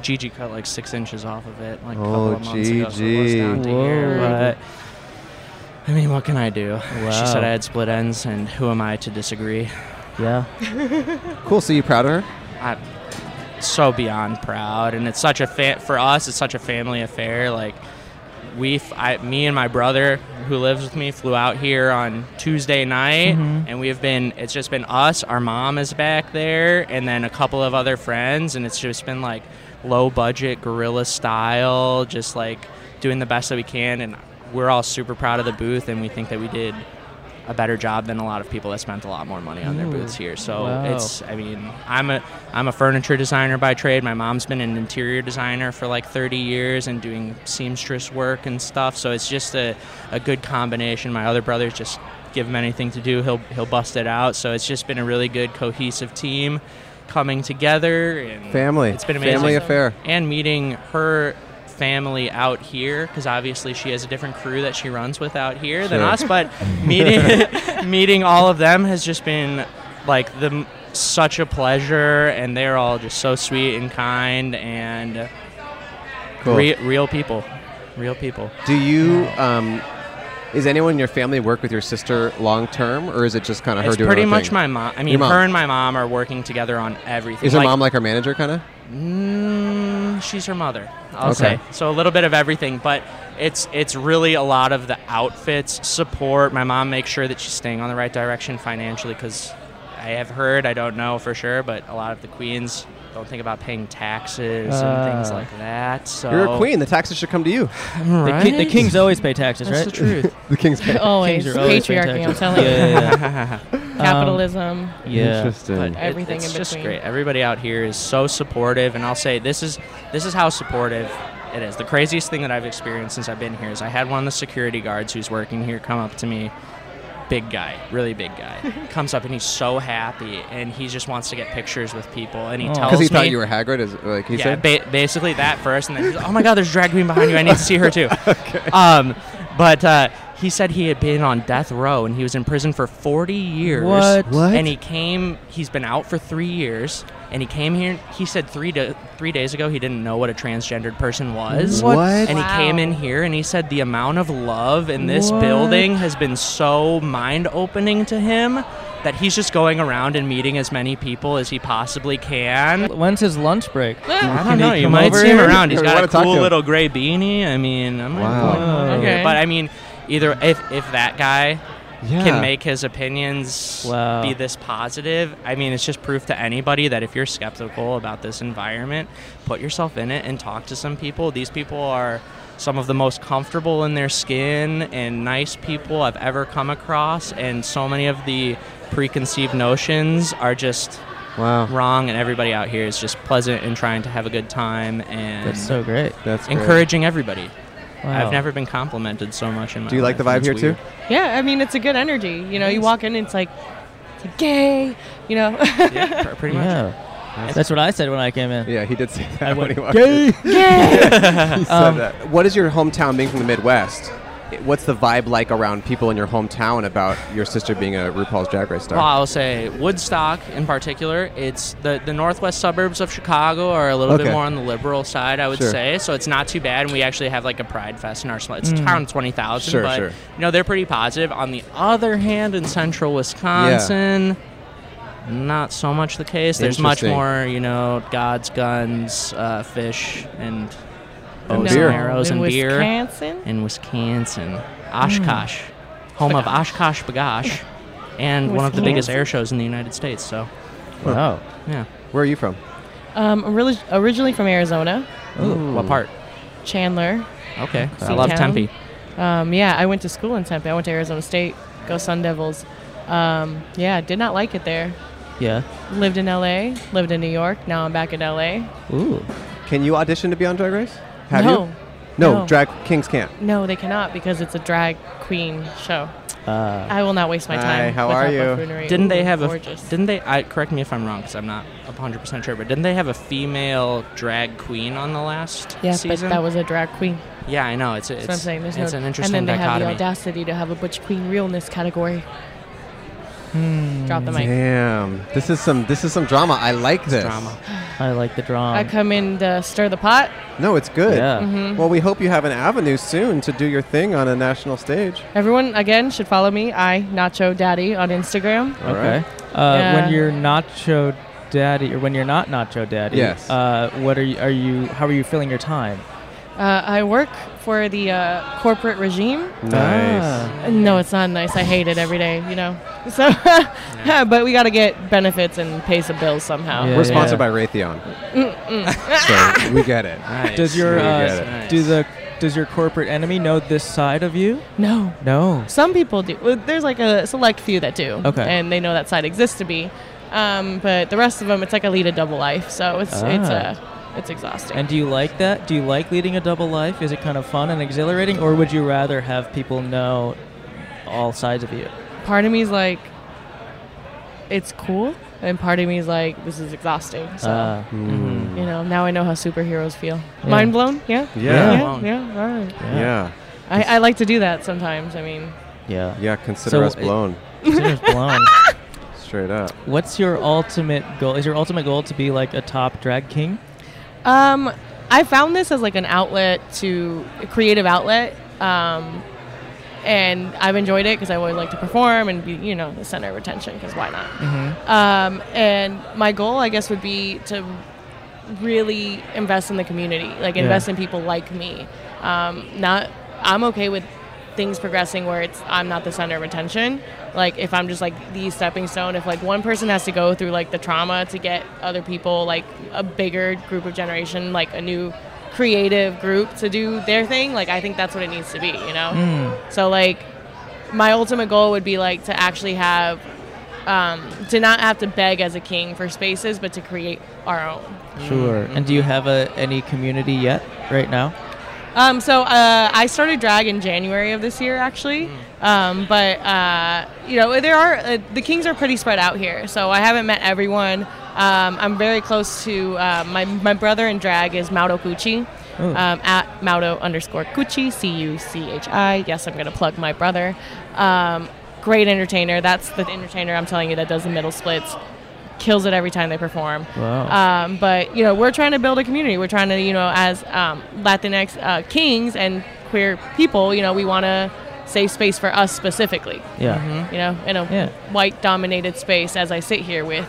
S4: Gigi cut like six inches off of it like a
S2: Oh,
S4: couple of months ago, so it was
S2: Gigi.
S4: down to here.
S6: Whoa.
S4: But I mean, what can I do? She said
S6: Wow.
S4: I had split ends, and who am I to disagree?
S6: Yeah.
S2: Cool. So you proud of her?
S4: I'm so beyond proud, and it's such a fa- for us. It's such a family affair. Like we, f- I, me and my brother who lives with me flew out here on Tuesday night, and we have been. It's just been us. Our mom is back there, and then a couple of other friends, and it's just been like low budget guerrilla style, just like doing the best that we can, and we're all super proud of the booth, and we think that we did. A better job than a lot of people that spent a lot more money on their booths here. So
S6: Wow.
S4: it's I mean, I'm a I'm a furniture designer by trade. My mom's been an interior designer for like 30 years and doing seamstress work and stuff. So it's just a, a good combination. My other brother's just give him anything to do, he'll he'll bust it out. So it's just been a really good cohesive team coming together and
S2: Family.
S4: It's been amazing.
S2: Family affair.
S4: And meeting her family out here because obviously she has a different crew that she runs with out here than
S2: Sure.
S4: us but meeting meeting all of them has just been like the m- such a pleasure and they're all just so sweet and kind and
S2: Cool.
S4: re- real people real people
S2: Do you? Um, is anyone in your family work with your sister long term, or is it just kind of her
S4: it's
S2: doing?
S4: pretty
S2: her
S4: much
S2: thing?
S4: my mom i mean
S2: mom.
S4: her and my mom are working together on everything
S2: Is her mom like her manager, kind of?
S4: Mm, she's her mother. I'll
S2: Okay.
S4: say so a little bit of everything, but it's it's really a lot of the outfits support. My mom makes sure that she's staying on the right direction financially because I have heard I don't know for sure, but a lot of the queens don't think about paying taxes and things
S6: Ah.
S4: like that. So
S2: You're a queen. The taxes should come to you.
S6: The,
S4: right?
S6: ki- the kings always pay taxes,
S4: That's
S6: right?
S4: the truth.
S2: The king's.
S7: Always.
S6: Kings are always paying
S7: Patriarchy, I'm
S6: taxes.
S7: telling you.
S6: Yeah, yeah, Um,
S7: Capitalism.
S6: yeah. yeah.
S2: Interesting.
S4: It-
S7: Everything
S4: it's
S7: in
S4: just
S7: between.
S4: great. Everybody out here is so supportive, and I'll say this is this is how supportive it is. The craziest thing that I've experienced since I've been here is I had one of the security guards who's working here come up to me, big guy, really big guy, comes up and he's so happy and he just wants to get pictures with people and he
S6: Oh.
S4: tells
S2: Because he
S4: me
S2: thought you were Hagrid, is like he
S4: yeah,
S2: said.
S4: ba- basically that first, and then he's, oh my God, there's drag queen behind you. I need to see her too. um, but uh, he said he had been on death row and he was in prison for 40 years.
S6: What? What?
S4: And he came. He's been out for three years, and he came here. He said three da three days ago he didn't know what a transgendered person was.
S6: What?
S4: And
S7: Wow.
S4: he came in here and he said the amount of love in this
S6: What?
S4: building has been so mind opening to him that he's just going around and meeting as many people as he possibly can.
S6: When's his lunch break?
S4: I
S6: Can
S4: don't know.
S6: he
S4: You
S6: come
S4: might
S6: over
S4: see him
S6: here?
S4: around. He's
S2: Or
S4: got
S2: wanna
S4: a
S2: talk to
S4: cool
S2: him.
S4: little gray beanie. I mean, I might
S2: Wow.
S4: wow.
S7: Okay.
S4: But I mean, either if if that guy
S2: Yeah.
S4: can make his opinions
S6: Wow.
S4: be this positive, I mean, it's just proof to anybody that if you're skeptical about this environment, put yourself in it and talk to some people. These people are some of the most comfortable in their skin and nice people I've ever come across, and so many of the preconceived notions are just
S2: Wow,
S4: wrong and everybody out here is just pleasant and trying to have a good time and
S6: That's so great.
S2: that's great.
S4: encouraging everybody.
S6: Wow.
S4: I've never been complimented so much in my
S2: Do you like the
S4: life,
S2: vibe
S4: and
S2: here
S4: it's
S2: too?
S4: weird.
S7: Yeah, I mean it's a good energy. You know, you walk in, it's like, it's like gay. You know,
S4: Yeah, pr- pretty much.
S6: Yeah. That's what I said when I came in.
S2: Yeah, he did say that
S6: I
S2: when
S6: went,
S2: he walked in.
S6: gay.
S7: gay.
S2: He said that. What is your hometown being from the Midwest? It- What's the vibe like around people in your hometown about your sister being a RuPaul's Drag Race star?
S4: Well, I'll say Woodstock in particular. It's the, the northwest suburbs of Chicago are a little
S2: Okay.
S4: bit more on the liberal side, I would
S2: Sure.
S4: say. So it's not too bad. And we actually have like a pride fest in our small. It's a
S6: Mm.
S4: town of twenty thousand,
S2: Sure,
S4: but
S2: sure.
S4: you know they're pretty positive. On the other hand, in central Wisconsin. Not so much the case. There's much
S2: Interesting.
S4: more, you know, gods, guns, uh, fish, and bows
S2: beer.
S4: and arrows
S7: in
S4: and beer
S7: Wisconsin.
S4: in Wisconsin,
S7: Hmm.
S4: Oshkosh, home of Oshkosh Bagosh, and one of the biggest air shows in the United States. So,
S6: Wow.
S4: yeah.
S2: Where are you from?
S7: Um, orili- originally from Arizona,
S4: Ooh. What part?
S7: Chandler.
S4: Okay. I love
S7: Seatown.
S4: Tempe.
S7: Um, yeah, I went to school in Tempe. I went to Arizona State. Go Sun Devils. Um, yeah, did not like it there.
S6: Yeah.
S7: Lived in LA. Lived in New York. Now I'm back in LA.
S6: Ooh.
S2: Can you audition to be on Drag Race? Have
S7: no,
S2: you? No,
S7: No.
S2: drag kings can't.
S7: no, they cannot because it's a drag queen show.
S6: Uh,
S7: I will not waste my
S2: Hi,
S7: time.
S2: how
S7: with
S2: are
S7: Hot
S2: you?
S7: Buff Foonery.
S4: Ah. Didn't they
S7: Ooh,
S4: have a?
S7: gorgeous.
S4: Didn't they? I correct me if I'm wrong, because I'm not 100 percent sure. But didn't they have a female drag queen on the last
S7: yeah, but
S4: season?
S7: that was a drag queen.
S4: yeah, I know. It's it's,
S7: That's what I'm saying. There's
S4: it's
S7: no,
S4: an interesting
S7: and then they
S4: dichotomy.
S7: have the audacity to have a butch queen realness category. Drop the mic.
S2: Hmm. Damn, this is some this is some drama. I like this.
S4: drama.
S6: I like the drama.
S7: I come in to stir the pot.
S2: No, it's good.
S6: Yeah.
S2: Well, we hope you have an avenue soon to do your thing on a national stage.
S7: Everyone again should follow me. I Nacho Daddy on Instagram.
S2: All
S6: Okay.
S2: right.
S6: Uh,
S7: Yeah.
S6: When you're nacho daddy, or when you're not nacho daddy,
S2: Yes.
S6: uh, what are you? Are you? How are you filling your time?
S7: Uh, I work for the uh, corporate regime.
S2: Nice.
S6: Ah.
S7: No, it's not nice. I hate it every day. You know. So, but we got to get benefits and pay some bills somehow.
S6: Yeah.
S2: We're sponsored by Raytheon, so we get it.
S4: Nice.
S6: Does your
S2: Yeah, I
S6: uh,
S2: get it.
S6: s- do the does your corporate enemy know this side of you?
S7: No.
S6: No.
S7: Some people do. Well, There's like a select few that do.
S6: Okay.
S7: And they know that side exists to be. Um, but the rest of them, it's like I lead a double life. So it's it's
S6: Ah.
S7: uh, it's exhausting.
S6: And do you like that? Do you like leading a double life? Is it kind of fun and exhilarating, or would you rather have people know all sides of you?
S7: part of me is like, it's cool, and part of me is like, this is exhausting. So
S6: Ah. Mhm.
S7: you know, now I know how superheroes feel.
S6: Yeah.
S7: Mind blown? Yeah.
S2: Yeah.
S7: Yeah. yeah, All right.
S6: Yeah.
S2: Yeah.
S7: I, I like to do that sometimes. I mean,
S6: Yeah.
S2: Yeah. Consider
S6: So
S2: us
S6: it-
S2: blown.
S6: Consider's blown.
S2: Straight up.
S6: What's your ultimate goal? Is your ultimate goal to be like a top drag king?
S7: um, I found this as like an outlet to a creative outlet. Um, and I've enjoyed it because I always like to perform and be, you know, the center of attention because why not? Um, and my goal, I guess, would be to really invest in the community, like
S6: Yeah.
S7: invest in people like me. Um, not, I'm okay with things progressing where it's I'm not the center of attention. Like if I'm just like the stepping stone, if like one person has to go through like the trauma to get other people, like a bigger group of generation, like a new creative group to do their thing, like I think that's what it needs to be, you know. So like my ultimate goal would be like to actually have um, to not have to beg as a king for spaces, but to create our own.
S8: Mm-hmm.
S6: Sure. And do you have a any community yet right now?
S7: Um, so uh, I started drag in January of this year, actually. Um, but uh, you know, there are uh, the Kings are pretty spread out here, so I haven't met everyone. Um, I'm very close to uh, my my brother in drag is Mauro Cucci. Um, at Mauro underscore Cucci, C U C H I. Yes, I'm going to plug my brother. Um, great entertainer. That's the entertainer I'm telling you that does the middle splits. Kills it every time they perform.
S6: Wow.
S7: Um, but you know, we're trying to build a community. We're trying to, you know, as um, Latinx uh, kings and queer people, you know, we want to save space for us specifically.
S6: Yeah.
S2: Mm-hmm.
S7: You know, in a
S6: Yeah.
S7: white-dominated space, as I sit here with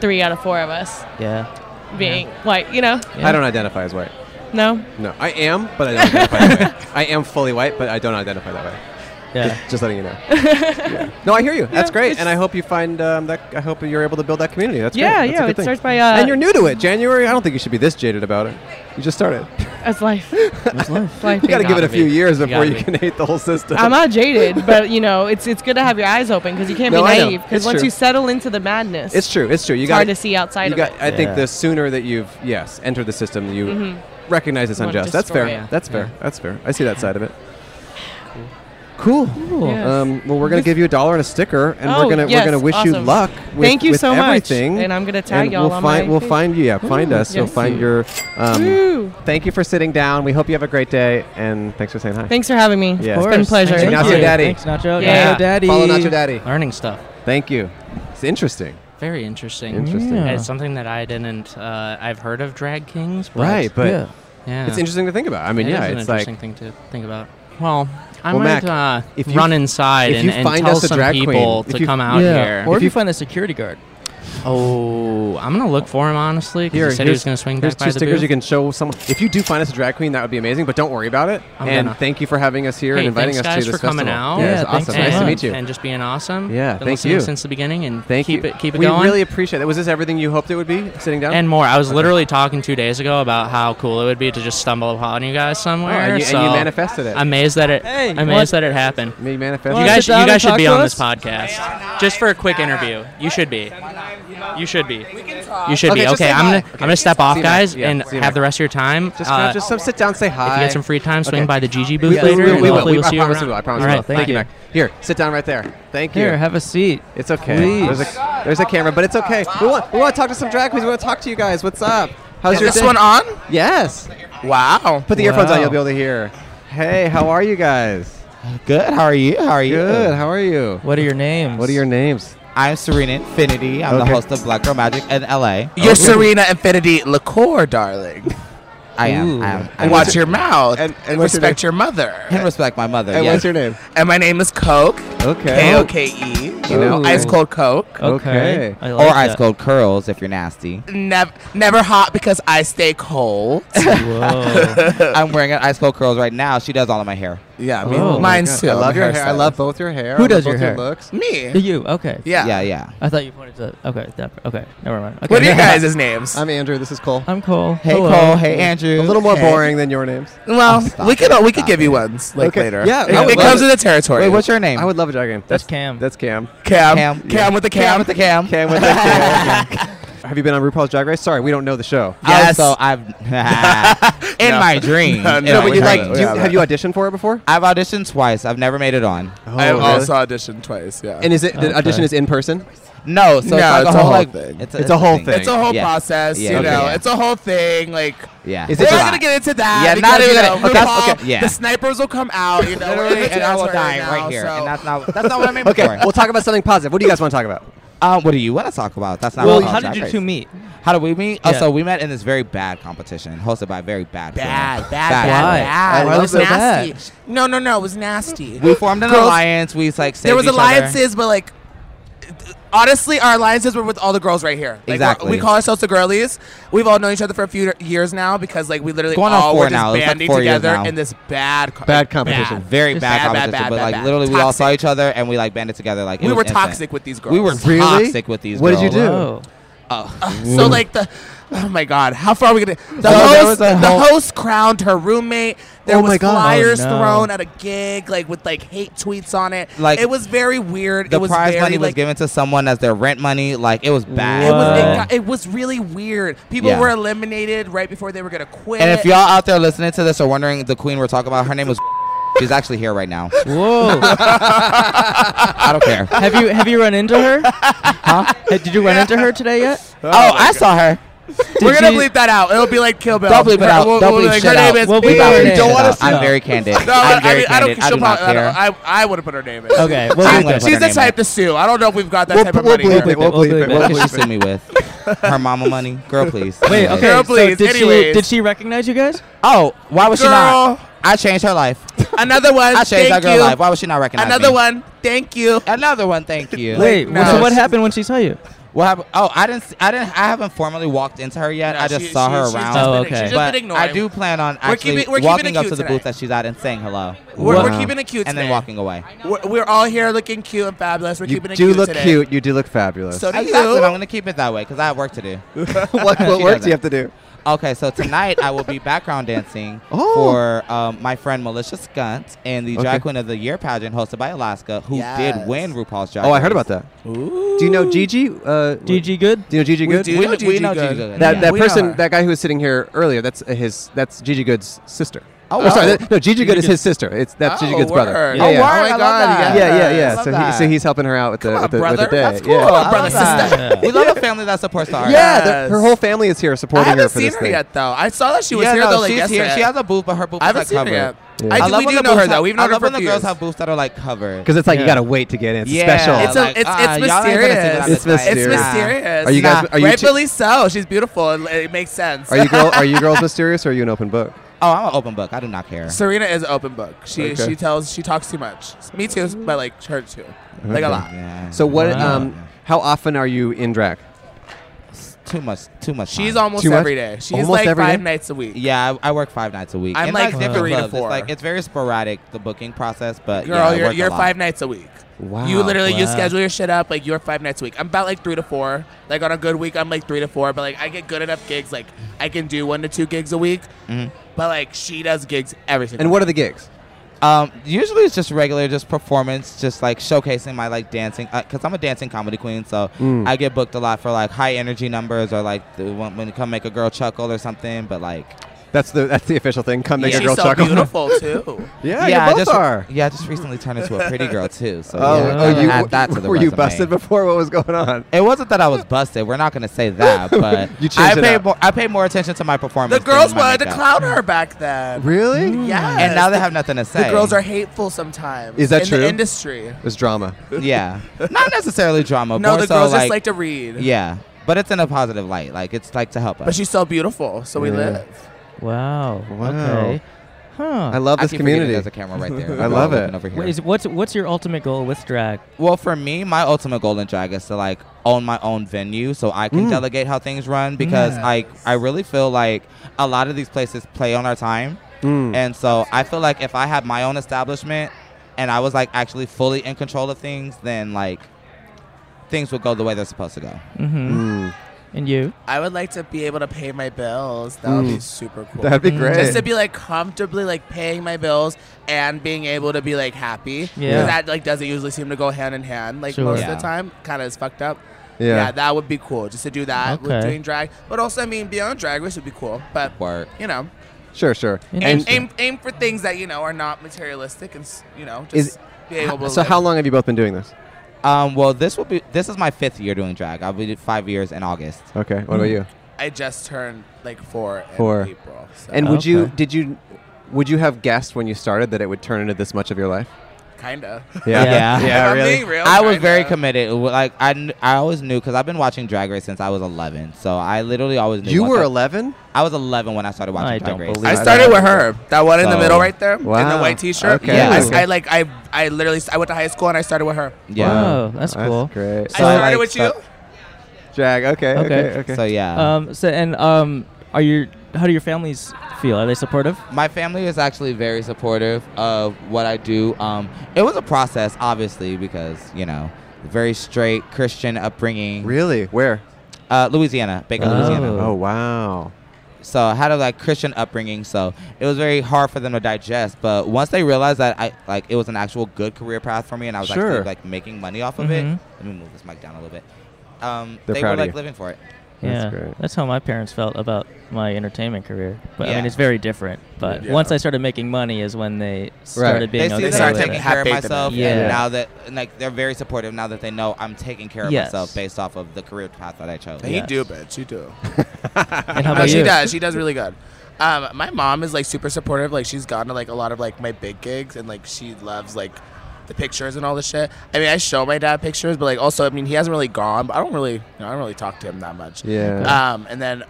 S7: three out of four of us
S6: Yeah.
S7: being white. You know,
S2: I don't identify as white.
S7: no.
S2: No, I am, but I don't identify that way. I am fully white, but I don't identify that way.
S6: Yeah.
S2: Just letting you know. Yeah. No, I hear you. That's great,
S7: it's-
S2: and I hope you find um, that. I hope you're able to build that community. That's
S7: Yeah,
S2: great. That's a
S7: yeah.
S2: good
S7: It
S2: thing.
S7: starts by uh,
S2: and you're new to it, January. I don't think you should be this jaded about it. You just started.
S7: as life. life.
S2: You got to give it a
S4: gotta
S2: few
S4: be.
S2: years
S4: You
S2: before
S4: gotta
S2: you
S4: be.
S2: can hate the whole system.
S7: I'm not jaded, but you know, it's it's good to have your eyes open because you can't
S2: No,
S7: be
S2: I know.
S7: naive. Because
S2: It's
S7: once
S2: true.
S7: you settle into the madness,
S2: it's true. It's true. You
S7: it's
S2: got
S7: hard to see outside
S2: You
S7: of
S2: got.
S7: it.
S2: I think
S6: Yeah.
S2: the sooner that you've yes entered the system, you recognize it's
S7: Mm-hmm. You wanna
S2: unjust. That's
S7: destroy
S2: fair.
S7: it.
S2: That's fair. That's fair. I see that side of it. Cool.
S7: Yes.
S2: Um, well, we're gonna give you a dollar and a sticker, and
S7: Oh,
S2: we're gonna
S7: yes,
S2: we're gonna wish you
S7: awesome.
S2: luck. With,
S7: Thank you
S2: with
S7: so much,
S2: everything.
S7: and I'm gonna tag
S2: And
S7: y'all
S2: We'll
S7: on
S2: find
S7: my
S2: we'll
S7: page.
S2: find you. Yeah, find us. You'll
S7: yes.
S2: find your. Um,
S7: Woo.
S2: thank you for sitting down. We hope you have a great day, and thanks for saying hi.
S7: Thanks for having me.
S2: Yeah.
S7: It's been a pleasure.
S2: Thank Nacho you. Daddy.
S6: Thanks, Nacho.
S7: Yeah.
S6: Nacho Daddy.
S2: Follow Nacho Daddy.
S4: Learning stuff.
S2: Thank you. It's interesting.
S4: Very interesting.
S2: Interesting.
S6: Yeah.
S4: It's something that I didn't. Uh, I've heard of drag kings, but
S2: Right, but
S6: Yeah.
S4: yeah,
S2: it's interesting to think about. I mean,
S4: It
S2: yeah,
S4: is an
S2: it's like
S4: interesting thing to think about. Well, I
S2: Well,
S4: might
S2: Mac,
S4: uh,
S2: if you-
S4: run inside
S2: if
S4: and,
S2: you
S4: and
S2: find
S4: tell
S2: us a
S4: some
S2: drag queen,
S4: people
S2: if
S4: to
S2: you-
S4: come out
S6: Yeah.
S4: here.
S6: Or if you find a security guard.
S4: oh, I'm gonna look for him honestly. 'cause he said he was gonna swing
S2: here's
S4: back
S2: two
S4: by the
S2: stickers
S4: booth.
S2: you can show someone. If you do find us a drag queen, that would be amazing. But don't worry about it.
S4: I'm
S2: and
S4: gonna.
S2: thank you for having us here and
S4: Hey,
S2: inviting
S4: thanks
S2: us
S4: guys
S2: to
S4: for
S2: this
S4: coming
S2: festival.
S4: out.
S2: Yeah, it's
S6: Yeah, thanks
S2: awesome.
S6: so
S2: Nice to
S4: and,
S2: meet you.
S4: And just being awesome.
S2: Yeah,
S4: Been
S2: thank
S4: listening
S2: you.
S4: since the beginning and
S2: Thank
S4: keep
S2: you.
S4: it keep it
S2: we
S4: going.
S2: really appreciate it. Was this everything you hoped it would be sitting down?
S4: and more. I was literally talking two days ago about how cool it would be to just stumble upon you guys
S2: Oh,
S4: somewhere.
S2: and, you, and you
S4: so
S2: manifested it.
S4: Amazed that it.
S6: Hey,
S4: amazed
S6: what?
S4: that it happened.
S2: you manifested.
S4: You
S6: Wanna
S4: guys,
S6: sit
S4: you
S6: down
S4: guys
S6: and
S4: should be
S6: talk to
S4: on
S6: us?
S4: this podcast just for a quick interview. You should be. You should be. You should
S2: Okay,
S4: be.
S2: just
S4: Okay,
S2: say
S4: I'm
S2: hi.
S4: gonna
S2: Okay.
S4: I'm gonna step off,
S2: you back.
S4: guys,
S2: Yeah,
S4: and
S2: see you back.
S4: have the rest of your time.
S2: just,
S4: Uh,
S2: kind of just some sit down, say hi.
S4: if you get some free time, swing
S2: Okay.
S4: by the GG
S2: We-
S4: booth
S2: we-
S4: later.
S2: we-
S4: and
S2: we will.
S4: hopefully
S2: We-
S4: we'll
S2: I
S4: see you
S2: promise
S4: around.
S2: we will. I promise
S4: All
S2: we
S4: right,
S2: will.
S6: thank
S2: Thank you.
S6: you.
S2: Mac. Here, sit down right there. Thank you.
S6: Here, have a seat.
S2: It's okay.
S6: Please.
S2: There's a, there's a camera, but it's okay. We want, we want to talk to some drag queens. We want to talk to you guys. What's up? How's
S5: Is
S2: your
S5: this
S2: day?
S5: one on?
S2: Yes.
S5: Wow.
S2: Put the earphones on.
S6: Wow.
S2: You'll be able to hear. Hey, how are you guys?
S8: Good. How are you? How are you?
S2: Good. How are you?
S6: What are your names?
S2: What are your names?
S8: I'm Serena Infinity. I'm
S2: Okay.
S8: the host of Black Girl Magic in LA.
S5: You're Serena Infinity liqueur, darling.
S8: I am.
S6: Ooh.
S8: I am. I
S5: And
S8: am.
S5: watch your mouth.
S2: and-
S5: And,
S2: and what's your
S5: respect your,
S8: and
S5: mother.
S8: respect my mother.
S2: And
S8: yes.
S2: what's your name?
S5: And my name is Coke.
S2: Okay.
S5: K O K E. You know,
S2: Ooh.
S5: ice cold Coke.
S6: Okay.
S2: Okay.
S6: I
S8: or
S6: like
S8: ice
S6: that.
S8: cold curls if you're nasty.
S5: Never, never hot because I stay cold.
S6: Whoa.
S8: I'm wearing an ice cold curls right now. She does all of my hair.
S5: yeah,
S6: me- Oh.
S5: mine's too.
S2: I love your hair. I
S5: hairstyle.
S2: love both your hair.
S6: Who
S2: I love
S6: does your
S2: both
S6: hair?
S2: looks.
S5: me.
S6: you. Okay.
S5: Yeah.
S8: Yeah, yeah.
S6: I thought you pointed to. Okay. That, okay. Never mind. Okay.
S5: What are you guys' names?
S2: I'm Andrew. This is Cole.
S6: I'm Cole.
S8: Hey
S6: Hello.
S8: Cole. Hey Andrew.
S2: A little more
S8: Hey.
S2: boring than your names.
S5: well,
S8: stop
S5: we could
S8: it,
S5: we could
S8: stop
S5: give you
S8: it.
S5: ones like
S2: Okay.
S5: later.
S2: Yeah,
S5: it,
S2: I
S5: it
S2: would love
S5: comes
S2: it.
S5: with the territory.
S8: Wait, what's your name?
S2: I would love a drag game.
S6: That's Cam.
S2: That's Cam.
S5: Cam?
S8: Cam.
S5: Cam, with the
S8: Cam
S5: cam.
S8: with the cam.
S2: Cam with the Cam. Have you been on RuPaul's Drag Race? Sorry, we don't know the show.
S5: Yes.
S8: Also, I've in my dream.
S5: No,
S8: in
S5: no,
S8: my
S2: but you
S5: we
S2: like?
S8: dream.
S5: haven't.
S2: do you-
S5: We
S2: have you auditioned for it before?
S8: I've auditioned twice. I've never made it on.
S5: I have
S2: Oh, really?
S5: also auditioned twice. Yeah,
S2: And is it the
S6: Okay.
S2: audition is in person?
S8: No, so
S5: No,
S8: it's, like
S5: it's
S8: a whole like,
S5: thing.
S8: It's
S2: It's a whole thing.
S5: it's a whole
S8: Yeah.
S5: process.
S8: Yeah,
S5: you
S8: okay,
S5: know,
S8: yeah.
S5: it's a whole thing. Like.
S8: Yeah.
S2: Is
S8: Is
S2: it
S8: it
S2: It's
S5: We're
S2: a
S5: not
S2: lot.
S5: gonna get into that.
S8: Yeah,
S5: because,
S8: not
S5: you
S8: even
S5: know,
S8: gonna- okay, that's-
S5: RuPaul,
S8: okay, yeah.
S5: The snipers will come out. You know,
S8: Literally, and I will die
S5: right,
S8: right
S5: now,
S8: here,
S5: so-
S8: and that's not that's not what I meant
S2: Okay,
S8: before.
S2: we'll talk about something positive. What do you guys want to talk about?
S8: Uh, what do you want to talk about? That's not.
S6: Well,
S8: what
S6: how
S8: I'm
S6: did
S8: talking
S6: you
S8: about.
S6: two meet?
S8: How did we meet? Oh,
S6: Yeah.
S8: so we met in this very bad competition hosted by a very bad. girl.
S5: bad, bad,
S6: Why?
S5: bad, bad.
S6: Why
S5: It
S6: was
S5: was
S6: it bad?
S5: nasty. No, no, no. It was nasty.
S8: We formed an
S5: Girls-
S8: alliance. We like saved
S5: there was
S8: each other.
S5: alliances, but like, honestly, our alliances were with all the girls right here. Like, we're-
S8: Exactly.
S5: We call ourselves the girlies. We've all known each other for a few years now because like we literally
S8: Going on
S5: all
S8: four
S5: were just
S8: now. It's like
S5: banding
S8: four years
S5: together
S8: now.
S5: in this bad, co-
S2: Bad competition.
S8: Very
S5: Just
S8: bad
S5: bad, bad,
S8: competition,
S5: bad,
S8: but
S5: bad,
S8: like
S5: bad.
S8: literally we all saw
S5: Toxic.
S8: each other and we like banded together. Like it
S5: We
S8: was
S5: were
S8: instant.
S5: toxic with these girls.
S8: We were
S2: Really?
S8: toxic with these.
S2: What did
S8: girls.
S2: you do?
S6: Whoa.
S7: Oh. so like the, oh my god, how far are we gonna? The
S6: there was
S7: host,
S6: a
S7: the
S6: whole-
S7: host crowned her roommate. There
S2: Oh
S7: was
S2: my God.
S7: flyers
S6: Oh, no.
S7: thrown at a gig, like with like hate tweets on it.
S9: Like,
S7: it was very weird.
S9: The
S7: it was
S9: prize
S7: very,
S9: money was
S7: like,
S9: given to someone as their rent money. Like it was bad.
S7: It was, it,
S6: What?
S7: got, it was really weird. People
S9: Yeah.
S7: were eliminated right before they were gonna quit.
S9: And if y'all out there listening to this are wondering the queen we're talking about, her name was. She's actually here right now.
S6: Whoa.
S9: I don't care.
S6: have you have you run into her? Huh? Did you run into her today yet?
S9: Oh, I saw her.
S7: we're gonna
S6: you-
S7: bleep that out. It'll be like Kill Bill.
S9: Don't bleep it
S7: Her-
S9: out.
S7: we'll-
S9: Don't
S7: we'll be
S9: bleep
S7: like,
S9: shit
S7: her
S9: out.
S7: name is
S6: We'll
S9: Bleep
S6: bleep
S9: out
S6: her
S9: her
S6: name.
S9: name.
S6: Don't want
S9: out.
S6: us to
S9: I'm
S6: know.
S9: very candid.
S7: No, I,
S9: I'm
S7: I
S9: very
S7: mean, I don't.
S9: candid. I
S7: she'll
S9: do not
S7: probably-
S9: care.
S7: I, don't- I, I would have put her name in.
S6: Okay. Well,
S9: I'm
S6: we
S9: gonna
S6: did.
S9: put
S7: She's
S9: her
S7: the
S9: name
S7: type to sue. I don't know if we've got that
S2: We'll-
S7: type of
S2: we'll
S7: money.
S2: bleep
S7: here.
S2: it. We'll
S6: We'll
S2: bleep it.
S6: bleep it.
S2: We'll
S9: What could she
S2: bleep it.
S9: sue me with? Her mama money? Girl, please.
S6: Wait.
S9: Anyways.
S6: Okay.
S7: Girl, please,
S6: so did she
S7: anyways.
S6: did she recognize you guys?
S9: Oh, why was she
S7: Girl,
S9: not? I changed her life.
S7: another one.
S9: I changed
S7: Thank
S9: that girl
S7: you.
S9: life. Why was she not recognized?
S7: Another one. Thank you.
S9: Another one. Thank you.
S6: Wait.
S7: no,
S6: so what
S7: she's-
S6: happened when she saw you?
S9: What happened? Oh, I didn't. s- I didn't. I haven't formally walked into her yet.
S7: No,
S9: I just
S7: she-
S9: saw
S7: she-
S9: her
S7: she's
S9: around.
S7: just
S6: Oh,
S7: been-
S6: okay.
S7: She's just
S9: but
S7: been ignoring.
S9: I do plan on actually
S7: keeping- we're keeping
S9: walking
S7: it
S9: up
S7: cute
S9: to the
S7: today.
S9: booth that she's at and saying hello,
S7: We're, we're
S6: Wow.
S7: keeping it cute
S9: and
S7: today.
S9: then walking away.
S7: We're, we're all here looking cute and fabulous. We're
S2: You
S7: keeping it
S2: do
S7: cute
S2: look
S7: today.
S2: cute. You do look fabulous.
S7: So do
S9: Exactly.
S7: you.
S9: I'm gonna keep it that way because I have work to do.
S2: what what
S9: She
S2: work do
S9: doesn't.
S2: you have to do?
S9: Okay, so tonight I will be background dancing
S2: Oh.
S9: for um, my friend Melissa Skunt and the
S2: Okay.
S9: Drag Queen of the Year pageant hosted by Alaska, who
S5: Yes.
S9: did win RuPaul's Drag
S2: Oh, I heard
S9: Race.
S2: about that. Do you know Gigi? Uh,
S6: GG good.
S2: Do you know Gigi
S7: We
S2: Good?
S7: do.
S9: We,
S7: know
S9: we
S7: Gigi
S9: know Gigi
S7: Good.
S9: Good.
S2: That
S9: yeah.
S2: that
S7: We know her.
S2: person, that guy who was sitting here earlier, that's uh, his. That's Gigi Good's sister.
S9: Oh,
S2: Oh, sorry.
S9: wow.
S2: that- no, Gigi Good is his sister. It's that's Gigi Good's brother.
S7: word.
S2: Yeah,
S9: Oh,
S2: yeah.
S9: word.
S7: Oh,
S9: I
S7: my
S9: love
S7: God.
S9: that.
S2: yeah, yeah,
S9: I
S2: yeah.
S9: love
S2: So,
S9: that.
S2: he, so he's helping her out with the
S7: on,
S2: with the,
S7: brother.
S2: with the day.
S7: That's cool.
S2: Yeah,
S7: Oh,
S9: I
S7: brother,
S9: love that.
S6: sister.
S9: We love a family that supports the arts.
S2: yeah the- her
S7: Yes.
S2: whole family is here supporting
S7: I haven't
S2: her for
S7: seen
S2: this
S7: her
S2: thing.
S7: yet, though. I saw that she was
S9: yeah,
S7: here
S9: no,
S7: though. Like
S9: she's
S7: yesterday.
S9: here. She has a booth, but her booth
S7: I
S9: is
S7: haven't
S9: like
S7: seen
S9: covered.
S7: her yet.
S2: Yeah.
S7: I do,
S9: love
S7: we
S9: when
S7: do
S9: the
S7: know her
S9: booths
S7: though.
S9: have-
S7: We've
S9: I
S7: known her
S9: love
S7: for
S9: when the girls
S7: years.
S9: have booths that are like covered.
S2: Because it's like
S6: Yeah.
S2: you gotta wait to get in. It's
S9: yeah,
S2: special.
S7: It's a-
S9: like,
S7: it's-
S9: ah,
S7: it's
S9: y'all ain't gonna see
S7: mysterious.
S9: what
S2: It's
S9: I look like.
S7: It's
S2: mysterious.
S9: Nah.
S7: mysterious.
S2: Are you guys-
S7: Nah.
S2: are you two-
S7: rightfully so? She's beautiful. and It makes sense.
S2: are you girl? Are you girls mysterious or are you an open book?
S9: Oh, I'm an open book. I do not care.
S7: Serena is an open book. She
S2: Okay.
S7: she tells she talks too much. Me too, but like her too, like
S2: Okay.
S7: a lot.
S9: Yeah.
S2: So what?
S6: Wow.
S2: Um, how often are you in drag?
S9: Too much. Too much.
S7: She's
S9: time.
S7: almost
S2: Too much?
S7: every day. She's
S2: Almost
S7: like
S2: every
S7: five
S2: day?
S7: nights a week.
S9: Yeah, I, I work five nights a week.
S7: I'm
S9: in,
S7: like
S9: different
S7: three to
S9: clubs. It's
S7: four.
S9: like it's very sporadic the booking process, but
S7: Girl,
S9: yeah, I
S7: you're,
S9: work a
S7: you're
S9: lot.
S7: five nights a week.
S9: Wow,
S7: You literally you
S6: wow.
S7: schedule your shit up like you're five nights a week. I'm about like three to four. Like on a good week, I'm like three to four. But like I get good enough gigs, like I can do one to two gigs a week.
S2: Mm-hmm.
S7: But like she does gigs every single.
S2: And what are the gigs?
S9: Um, usually it's just regular, just performance, just like showcasing my like dancing, because I'm a dancing comedy queen, so
S2: Mm.
S9: I get booked a lot for like high energy numbers or like the, when, when you come make a girl chuckle or something. But like,
S2: That's the that's the official thing. Come make
S7: She's
S2: a girl
S7: so
S2: chuckle.
S7: beautiful too.
S2: yeah,
S9: yeah,
S2: you
S9: I
S2: both
S9: just
S2: are.
S9: yeah, I just recently turned into a pretty girl too. So
S2: Oh,
S9: yeah,
S2: oh,
S9: gotta
S2: you
S9: add that to the
S2: were you
S9: resume.
S2: busted before? What was going on?
S9: It wasn't that I was busted. We're not gonna say that, but
S2: You changed
S9: I
S2: it
S9: pay
S2: up.
S9: more. I pay more attention to my performance.
S7: The
S9: than
S7: girls
S9: my
S7: wanted to
S9: makeup.
S7: clown her back then.
S2: Really?
S7: Yeah.
S9: and now they have nothing to say.
S7: The girls are hateful sometimes.
S2: Is that
S7: in
S2: true?
S7: The industry.
S2: It was drama.
S9: yeah, not necessarily drama.
S7: No,
S9: more
S7: the
S9: so
S7: girls
S9: like,
S7: just like to read.
S9: yeah, but it's in a positive light. Like it's like to help us.
S7: But she's so beautiful, so we
S2: Yeah.
S7: live.
S6: Wow.
S2: Wow.
S6: Okay. Huh.
S2: I love
S9: I
S2: this
S9: keep forgetting
S2: community.
S9: There's a camera right there.
S2: I love
S9: Looking
S2: it.
S9: Over here.
S6: Wait, is, what's what's your ultimate goal with drag?
S9: well, for me, my ultimate goal in drag is to like own my own venue, so I can
S2: Mm.
S9: delegate how things run because like I really feel like a lot of these places play on our time.
S2: Mm.
S9: And so I feel like if I had my own establishment and I was like actually fully in control of things, then like things would go the way they're supposed to go.
S6: Mm-hmm.
S2: Mm.
S6: And you?
S7: I would like to be able to pay my bills. That would be
S2: Mm.
S7: super cool.
S2: That'd be
S6: Mm.
S2: great.
S7: just to be like comfortably like paying my bills and being able to be like happy.
S6: Yeah.
S7: Because that like doesn't usually seem to go hand in hand like
S6: Sure.
S7: most
S9: Yeah.
S7: of the time. Kind of is fucked up.
S2: Yeah.
S7: that would be cool just to do that with
S6: Okay.
S7: doing drag. But also, I mean, beyond drag race would be cool.
S2: Mm.
S7: But
S9: Work.
S7: you know,
S2: sure, sure.
S7: aim,
S6: Interesting.
S7: aim aim for things that you know are not materialistic and s- you know just
S2: Is-
S7: be able to.
S2: So
S7: live.
S2: how long have you both been doing this?
S9: Um, well, this will be this is my fifth year doing drag. I'll be five years in August.
S2: Okay. What about
S7: Mm.
S2: you?
S7: I just turned like four. in
S2: Four.
S7: April. So
S2: And would you
S6: Okay.
S2: did you would you have guessed when you started that it would turn into this much of your life?
S7: kinda.
S9: Yeah.
S2: Yeah.
S7: If I'm
S2: really.
S7: being real,
S9: I was
S7: kinda.
S9: very committed. It wa- Like I, kn- I always knew because I've been watching Drag Race since I was 11. So I literally always knew.
S2: You
S9: once
S2: were
S9: I,
S2: 11.
S9: I was 11 when I started watching
S6: I
S9: Drag
S6: don't
S9: Race.
S6: believe
S7: I
S6: that.
S7: started with her, that one in the
S9: So-
S7: middle right there, in
S2: Wow.
S7: the white T-shirt.
S2: Okay.
S9: Yeah.
S7: I, s- I, like I I literally s- I went to high school and I started with her.
S9: Yeah.
S6: Wow, that's cool.
S2: Great.
S9: So
S7: I
S9: I
S7: started
S9: like
S7: with you.
S9: stuff-
S2: Drag. Okay.
S6: Okay.
S2: Okay. Okay.
S9: So yeah,
S6: Um. So and um. Are your how do your families feel? Are they supportive?
S9: my family is actually very supportive of what I do. Um, it was a process, obviously, because you know, very straight Christian upbringing.
S2: really? Where?
S9: uh, Louisiana, Baker, Louisiana.
S2: Oh wow.
S9: So I had a like Christian upbringing, so it was very hard for them to digest. But once they realized that I like it was an actual good career path for me, and I was
S2: Sure. Mm-hmm.
S9: actually like making money off of
S6: Mhm.
S9: it. Let me move this mic down a little bit. Um,
S2: They're
S9: they
S2: proud
S9: were
S2: of
S9: like
S2: you.
S9: living for it.
S2: That's
S6: yeah,
S2: great.
S6: that's how my parents felt about my entertainment career. But I mean,
S9: Yeah.
S6: it's very different. But
S7: Yeah.
S6: once I started making money, is when they started
S2: Right.
S6: being
S9: they see
S6: okay
S9: that
S7: started
S9: I'm
S6: with
S9: taking
S6: it.
S9: care of
S7: Happy to them.
S9: myself,
S6: Yeah.
S9: and now that and, like they're very supportive now that they know I'm taking care of
S6: Yes.
S9: myself based off of the career path that I chose.
S7: You
S6: Yes.
S7: do, bitch. You do.
S6: And
S7: No,
S6: how about
S7: she
S6: you?
S7: does. She does really good. Um, my mom is like super supportive. Like she's gone to like a lot of like my big gigs, and like she loves like the pictures and all this shit. I mean, I show my dad pictures, but like also, I mean, he hasn't really gone. But I don't really, you know, I don't really talk to him that much.
S2: Yeah.
S7: Um, and then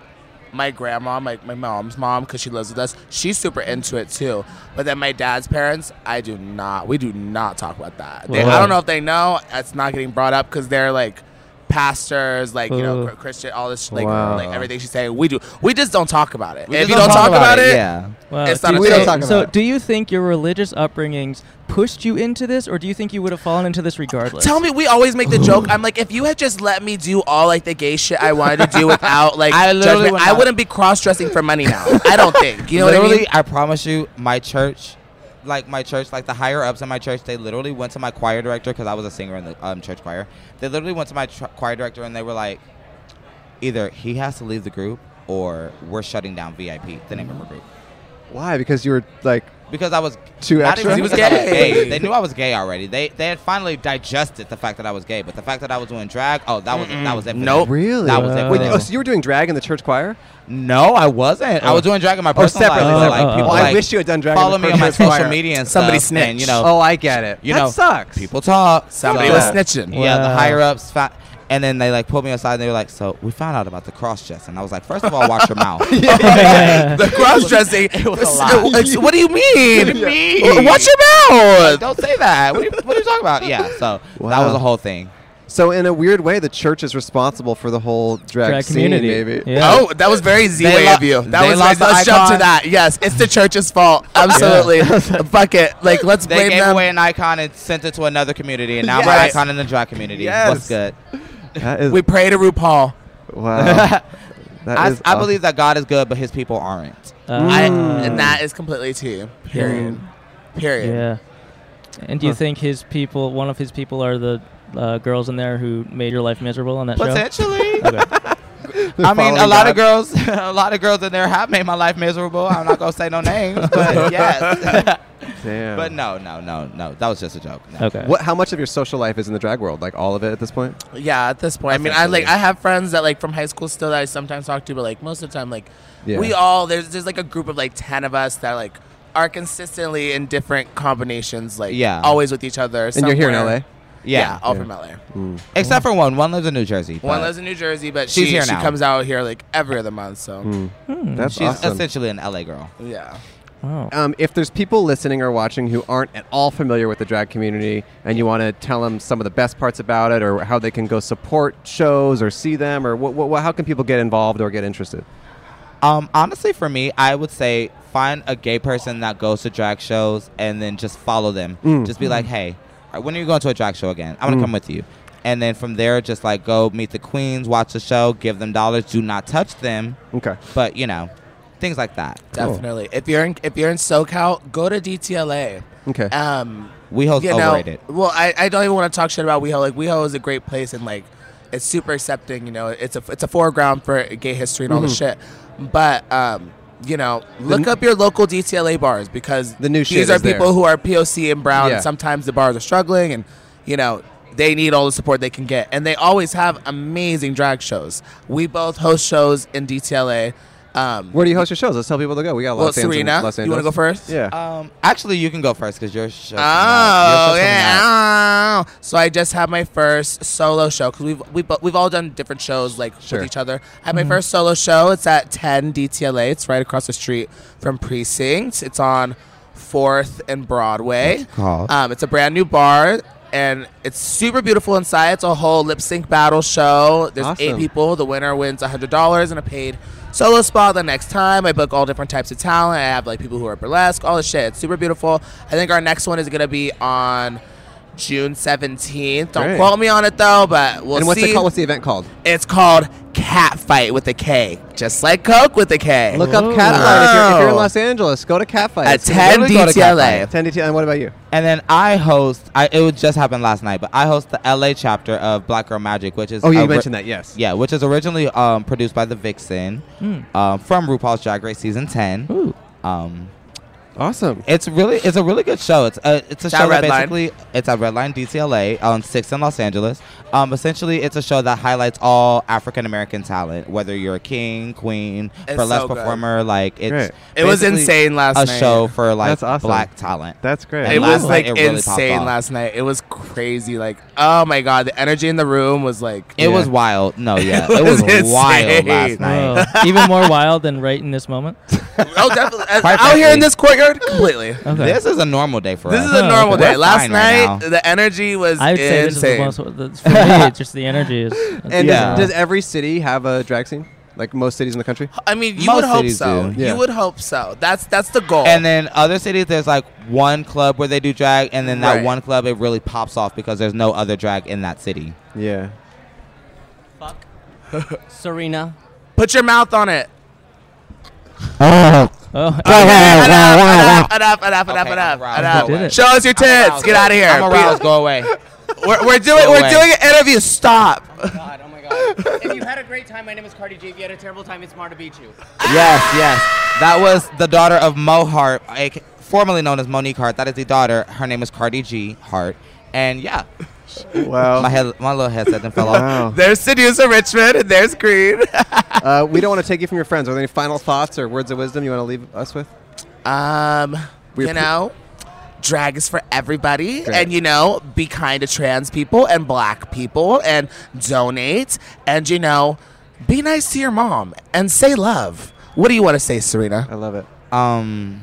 S7: my grandma, my, my mom's mom, because she lives with us, she's super into it too. But then my dad's parents, I do not, we do not talk about that. They, I
S6: Wow.
S7: don't know if they know. It's not getting brought up because they're like pastors, like, you know,
S6: Ooh.
S7: cr- Christian, all this, like,
S2: Wow.
S7: like everything she's saying. We do, we just don't talk about it.
S9: We
S7: if
S9: just
S7: you don't talk about, it,
S9: yeah.
S6: Wow.
S7: It's
S6: Do
S7: not
S6: you
S7: a
S6: think-
S7: thing.
S6: so, do you think your religious upbringings pushed you into this, or do you think you would have fallen into this regardless?
S7: Tell me, we always make the joke. I'm like, if you had just let me do all like the gay shit I wanted to do without like
S9: I
S7: I
S9: literally
S7: judgment,
S9: would
S7: I
S9: not-
S7: wouldn't be cross dressing for money now. I don't think. You know
S9: literally,
S7: what I mean?
S9: promise you, my church, like my church, like the higher ups in my church, they literally went to my choir director because I was a singer in the um, church choir. They literally went to my tr- choir director and they were like, either he has to leave the group or we're shutting down VIP, the name of our group.
S2: Why? Because you were like
S9: Because I was
S2: Too
S9: not
S2: extra?
S9: even
S2: He was
S9: because I was
S7: gay.
S9: They knew I was gay already. They they had finally digested the fact that I was gay, but the fact that I was doing drag, oh, that was that was it. for me.
S7: Nope.
S2: really.
S9: That was it.
S2: Wait,
S9: for me.
S2: oh, so you were doing drag in the church choir?
S9: No, I wasn't. I was doing drag in my
S2: Oh,
S9: personal life.
S2: separately.
S9: but, like,
S6: Oh, oh, oh.
S9: people,
S2: Well, I
S9: like,
S2: wish you had done drag in
S9: Follow
S2: the
S9: me on my
S2: first choir.
S9: social media and
S7: Somebody
S9: stuff, and,
S7: snitched.
S9: you know,
S2: Oh, I get it.
S9: You
S2: that
S9: know,
S2: sucks.
S9: people talk.
S7: Somebody
S9: Yeah.
S7: was snitching.
S9: Yeah, the
S6: Wow.
S9: higher ups. Fa- and then they like pulled me aside and they were like, "So we found out about the cross dress," and I was like, first of all, watch your mouth."
S7: the cross dressing. What do you mean? What do you mean?
S9: mean?
S7: Watch your mouth.
S9: Don't say that. What are, you, what are you talking about? Yeah, so that
S2: Wow.
S9: was a whole thing.
S2: So in a weird way, the church is responsible for the whole drag,
S6: Drag
S2: scene,
S6: community,
S2: maybe.
S6: Yeah.
S7: Oh, that was very Z
S9: They
S7: way
S9: lo-
S7: of you. That
S9: they
S7: was
S9: lost
S7: very,
S9: the
S7: let's jump to
S9: icon.
S7: that. Yes, it's the church's fault. Absolutely, fuck it. Like let's
S9: They
S7: blame
S9: gave
S7: them.
S9: away an icon and sent it to another community, and now
S7: Yes.
S9: my icon in the drag community.
S2: Yes.
S9: What's good?
S2: That is
S7: We pray to
S9: Mm.
S7: RuPaul.
S2: wow. That
S9: I,
S2: is
S9: I
S2: awesome.
S9: believe that God is good, but His people aren't.
S6: Uh,
S7: I, and that is completely to you. Period.
S9: Mm.
S7: Period.
S6: Yeah. And do you think his people, one of his people, are the uh, girls in there who made your life miserable on that
S9: Potentially,
S6: show? Okay.
S9: I mean, a
S2: following
S9: lot
S2: God.
S9: of girls, a lot of girls in there have made my life miserable. I'm not gonna say no names, but yes.
S2: Damn.
S9: But no, no, no, no. That was just a joke. No.
S6: okay.
S2: What? How much of your social life is in the drag world? Like all of it at this point?
S7: Yeah, at this point, I mean, I like I
S9: Essentially.
S7: have friends that like from high school still that I sometimes talk to, but like most of the time, like
S2: Yeah.
S7: we all there's there's like a group of like ten of us that like are consistently in different combinations, like
S9: Yeah.
S7: always with each other.
S2: And you're here in LA.
S7: somewhere. Yeah,
S9: Yeah.
S7: all
S2: Yeah.
S7: from LA.
S9: Except for one. One lives in New Jersey.
S7: One
S9: but
S7: lives in New Jersey, but
S9: She's
S7: she,
S9: here
S7: she
S9: now. Mm.
S7: comes out here like every other month. So
S2: That's
S9: She's
S2: awesome.
S9: essentially an LA girl.
S7: yeah,
S6: Wow.
S2: um, if there's people listening or watching who aren't at all familiar with the drag community and you want to tell them some of the best parts about it or how they can go support shows or see them or what, what, how can people get involved or get interested
S9: Um, honestly, for me, I would say find a gay person that goes to drag shows and then just follow them. Just be like, hey, uh, when are you going to a drag show again? I'm gonna come with you. And then from there, just like go meet the queens, watch the show, give them dollars. Do not touch them,
S2: okay
S9: but you know, things like that.
S7: definitely. If you're in if you're in SoCal, go to DTLA.
S2: okay
S7: Um,
S9: We host
S7: you know,
S9: overrated.
S7: well, I, I don't even want to talk shit about WeHo. Like WeHo is a great place and like it's super accepting. You know, it's a it's a foreground for gay history and all this shit.
S2: Mm-hmm.
S7: But um, you know, look up your local DTLA bars because
S2: The new shit
S7: these are
S2: is there.
S7: people who are POC and brown.
S2: Yeah.
S7: And sometimes the bars are struggling, and you know. They need all the support they can get, and they always have amazing drag shows. We both host shows in DTLA. Um,
S2: where do you host your shows let's tell people to go we got
S7: well,
S2: los angeles
S7: Serena,
S2: los angeles
S7: you want to go first? Uh,
S2: yeah
S9: Um, actually, you can go first because your show.
S7: Oh yeah. Oh. So I just had my first solo show because we've we've, bo- we've all done different shows like
S2: Sure.
S7: with each other. I had my first solo show. It's at 10 DTLA. It's right across the street from Precinct. It's on Fourth and Broadway.
S9: called?
S7: Um, it's a brand new bar. And it's super beautiful inside. It's a whole lip sync battle show. There's eight
S2: Awesome.
S7: people. The winner wins $100 and a paid solo spot the next time. I book all different types of talent. I have like people who are burlesque, all this shit. It's super beautiful. I think our next one is going to be on
S5: June 17th. Don't
S2: Great.
S5: quote me on it though, but we'll
S2: and what's
S5: see.
S2: it called? What's the event called?
S5: It's called Cat Fight with a K, just like Coke with a K.
S2: Look up Catfight. If, you're, if you're in
S5: Oh.
S2: Los Angeles, go to Catfight. It's gonna
S5: attend
S9: Literally go to
S5: DTLA.
S2: Attend DT. And what about you?
S9: And then I host. I it would just happened last night, but I host the LA chapter of Black Girl Magic, which is
S2: Oh, you
S9: ori-
S2: mentioned that. Yes.
S9: Yeah, which is originally um, produced by the Vixen
S2: Hmm.
S9: um, from RuPaul's Drag Race season ten.
S1: Ooh.
S9: Um,
S2: Awesome.
S9: it's really it's a really good show. It's a it's a
S5: Shout
S9: show
S5: out
S9: that
S5: Redline.
S9: basically it's at Redline DTLA on Sixth in Los Angeles. Um, essentially, it's a show that highlights all African American talent, whether you're a king, queen,
S5: It's
S9: burlesque
S5: so good.
S9: performer. Like it's
S2: Great.
S5: It was
S9: basically
S5: insane last
S9: A
S5: night.
S9: show for like
S2: That's awesome.
S9: black talent.
S2: That's
S9: And
S2: great.
S5: it
S9: last
S5: was like
S9: night, it really popped
S5: insane
S9: off.
S5: last night. It was crazy. Like, oh my god, the energy in the room was like.
S9: It
S2: Yeah.
S9: was wild. No, yeah,
S5: It
S9: it was,
S5: was
S9: wild
S5: insane.
S9: last night.
S1: Whoa. Even more wild than right in this moment.
S5: oh, definitely. As-
S9: Quite
S5: out here in
S9: frankly.
S5: this courtyard, completely.
S1: Okay.
S9: This is a normal day for
S5: This
S9: us.
S5: is a
S1: Oh,
S5: normal
S9: okay.
S5: day.
S9: We're
S5: Last
S9: fine right
S5: night,
S9: now.
S5: the energy was
S1: I would say this is the
S5: insane.
S1: most. the- For me, it's just the energy is.
S2: And
S9: Yeah.
S2: does, does every city have a drag scene? Like most cities in the country?
S5: I mean, you
S9: Most
S5: would hope
S9: cities
S5: so.
S9: do.
S2: Yeah.
S5: You would hope so. That's that's the goal.
S9: And then other cities, there's like one club where they do drag, and then that
S5: Right.
S9: one club it really pops off because there's no other drag in that city.
S2: Yeah.
S1: Serena.
S5: Put your mouth on it.
S1: Oh,
S5: Enough, enough, enough, enough,
S9: Okay,
S5: enough,
S9: I'm aroused.
S5: enough.
S1: Did it.
S5: Show us your tits. Get out of here.
S9: I'm aroused. Go away.
S5: We're, we're doing
S9: Go
S5: we're
S9: away.
S5: doing an interview. Stop.
S10: God, oh my God. if you had a great time, my name is Cardi G. If you had a terrible time, it's Mar to beat you.
S9: yes, yes. That was the daughter of Mo Hart, like, formerly known as Monique Hart. That is the daughter. Her name is Cardi G Hart. And yeah,
S2: Wow.
S5: Oh.
S9: my head, my little headset then fell off.
S2: wow.
S5: There's Seducer Richmond and there's Green.
S2: Uh, we don't want to take you from your friends. Are there any final thoughts or words of wisdom you want to leave us with?
S5: Um,
S2: We
S5: you
S2: appre-
S5: know, drag is for everybody,
S2: Great.
S5: and you know, be kind to trans people and black people, and donate, and you know, be nice to your mom and say love. What do you want to say, Serena?
S2: I love it.
S9: Um,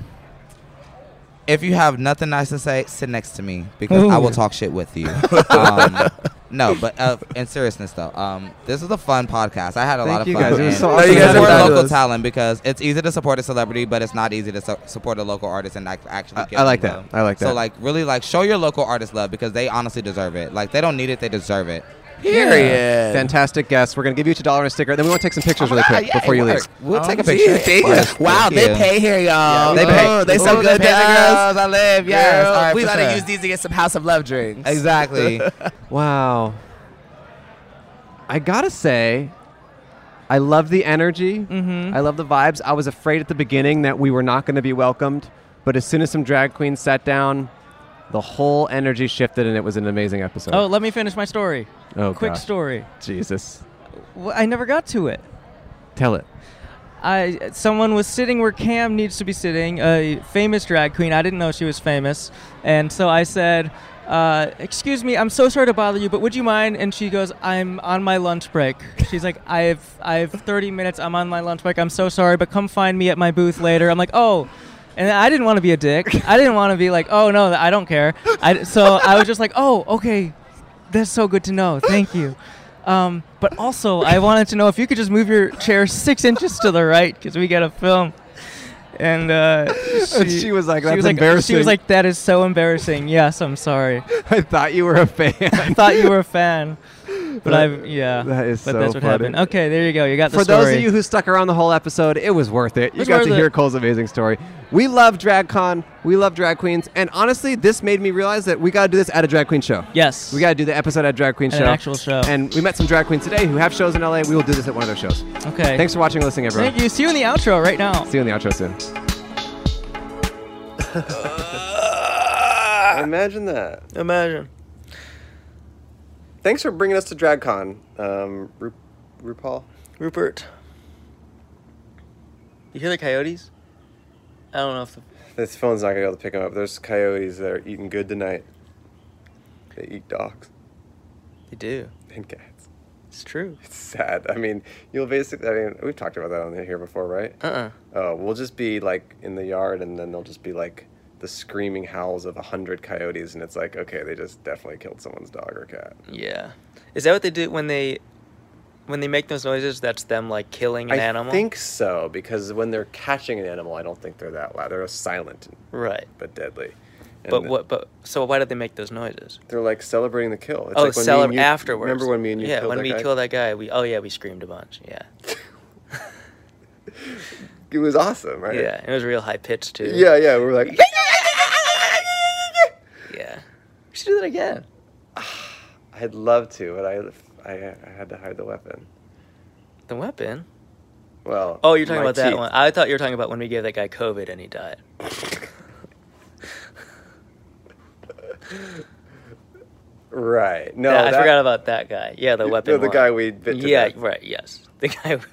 S9: if you have nothing nice to say, sit next to me because I will talk shit with you. um, no, but uh, in seriousness though, um, this is a fun podcast. I had a lot
S2: Thank
S9: of
S2: you
S9: fun.
S2: guys. It was
S9: and
S2: so awesome.
S5: Oh, you guys
S9: support
S5: are
S9: local
S5: fabulous.
S9: talent because it's easy to support a celebrity, but it's not easy to su- support a local artist and act- actually.
S2: I-
S9: give
S2: I
S9: them
S2: like that.
S9: love.
S2: I like
S9: So
S2: that.
S9: like really like show your local artist love because they honestly deserve it. Like they don't need it, they deserve it.
S5: Period.
S2: Fantastic guests. We're going to give you each a dollar and a sticker. Then we want to take some
S5: Uh,
S2: pictures really quick before you leave.
S9: We'll take a
S5: Gee,
S9: picture.
S5: thank you.
S9: Yes,
S5: Wow,
S9: thank
S5: they
S9: you.
S5: pay here, y'all.
S9: They pay.
S5: Oh, they so
S9: Ooh,
S5: good
S9: pay
S5: to
S9: the
S5: us.
S9: girls. I live. Yes.
S5: Girl,
S9: All right,
S5: we
S9: for
S5: gotta
S9: sure.
S5: use these to get some House of Love drinks.
S9: Exactly.
S2: Wow. I gotta say, I love the energy.
S1: Mm-hmm.
S2: I love the vibes. I was afraid at the beginning that we were not going to be welcomed, but as soon as some drag queens sat down, the whole energy shifted, and it was an amazing episode.
S1: oh, let me finish my story.
S2: Oh,
S1: Quick
S2: gosh.
S1: story.
S2: Jesus,
S1: Well, I never got to it.
S2: tell it.
S1: I someone was sitting where Cam needs to be sitting, a famous drag queen. I didn't know she was famous, and so I said, uh, "Excuse me, I'm so sorry to bother you, but would you mind?" And she goes, "I'm on my lunch break." She's like, "I've I've 30 minutes. I'm on my lunch break. I'm so sorry, but come find me at my booth later." I'm like, "Oh." And I didn't want to be a dick. I didn't want to be like, "Oh no, I don't care." I, so I was just like, "Oh, okay, that's so good to know. Thank you. Um, but also, I wanted to know if you could just move your chair six inches to the right because we got to film. And uh, she,
S2: she was like,
S1: she was
S2: "That's
S1: like, She
S2: embarrassing."
S1: was like, "That is so embarrassing." Yes, I'm sorry.
S2: I thought you were a fan.
S1: I thought you were a fan, but
S2: That-
S1: I've yeah.
S2: that is
S1: but
S2: so
S1: that's what
S2: funny.
S1: happened. Okay, there you go. You got the
S2: For
S1: story.
S2: those of you who stuck around the whole episode, it was worth it. You
S1: was
S2: got
S1: worth
S2: to
S1: it.
S2: hear Cole's amazing story. We love DragCon. We love drag queens. And honestly, this made me realize that we got to do this at a drag queen show.
S1: yes,
S2: We got to do the episode at Drag Queen
S1: At
S2: Show.
S1: an actual show.
S2: And we met some drag queens today who have shows in LA. We will do this at one of their shows.
S1: okay.
S2: Thanks for watching and listening, everyone.
S1: Thank you. See you in the outro right now.
S2: See you in the outro soon.
S6: Imagine that.
S11: Imagine.
S6: Thanks for bringing us to DragCon, um, Ru- RuPaul.
S11: Rupert. You hear the coyotes? I don't know if the
S6: This phone's not gonna be able to pick him up. There's coyotes that are eating good tonight. They eat dogs
S11: they do.
S6: and cats.
S11: It's true.
S6: It's sad. I mean, you'll basically. I mean, we've talked about that on here before, right?
S11: Uh uh
S6: Oh, we'll just be like in the yard, and then they'll just be like the screaming howls of a hundred coyotes, and it's like, okay, they just definitely killed someone's dog or cat.
S11: Yeah. Is that what they do when they when they make those noises? That's them like killing an
S6: I
S11: animal.
S6: think so because when they're catching an animal, I don't think they're that loud. They're silent
S11: Right.
S6: but deadly.
S1: But
S2: And-
S1: what? But so why did they make those noises?
S2: They're like celebrating the kill. It's
S1: oh,
S2: like when me
S1: celebrate
S2: and you-
S1: afterwards.
S2: Remember when me and you
S1: yeah,
S2: killed
S1: when
S2: that
S1: we
S2: guy?
S1: killed that guy, we oh yeah, we screamed a bunch. Yeah,
S2: It was awesome, right?
S1: yeah, it was real high pitched too.
S2: Yeah, yeah. We were like,
S1: yeah. We should do that again.
S2: I'd love to, but I, I, I had to hide the weapon.
S1: The weapon.
S2: Well.
S1: Oh, you're talking
S2: my
S1: about that
S2: teeth.
S1: one. I thought you were talking about when we gave that guy COVID and he died.
S2: Right. No,
S1: Yeah, I
S2: that-
S1: forgot about that guy. Yeah, the
S2: You
S1: weapon.
S2: know the
S1: one.
S2: guy we bit to
S1: Yeah,
S2: death.
S1: right. Yes, the guy.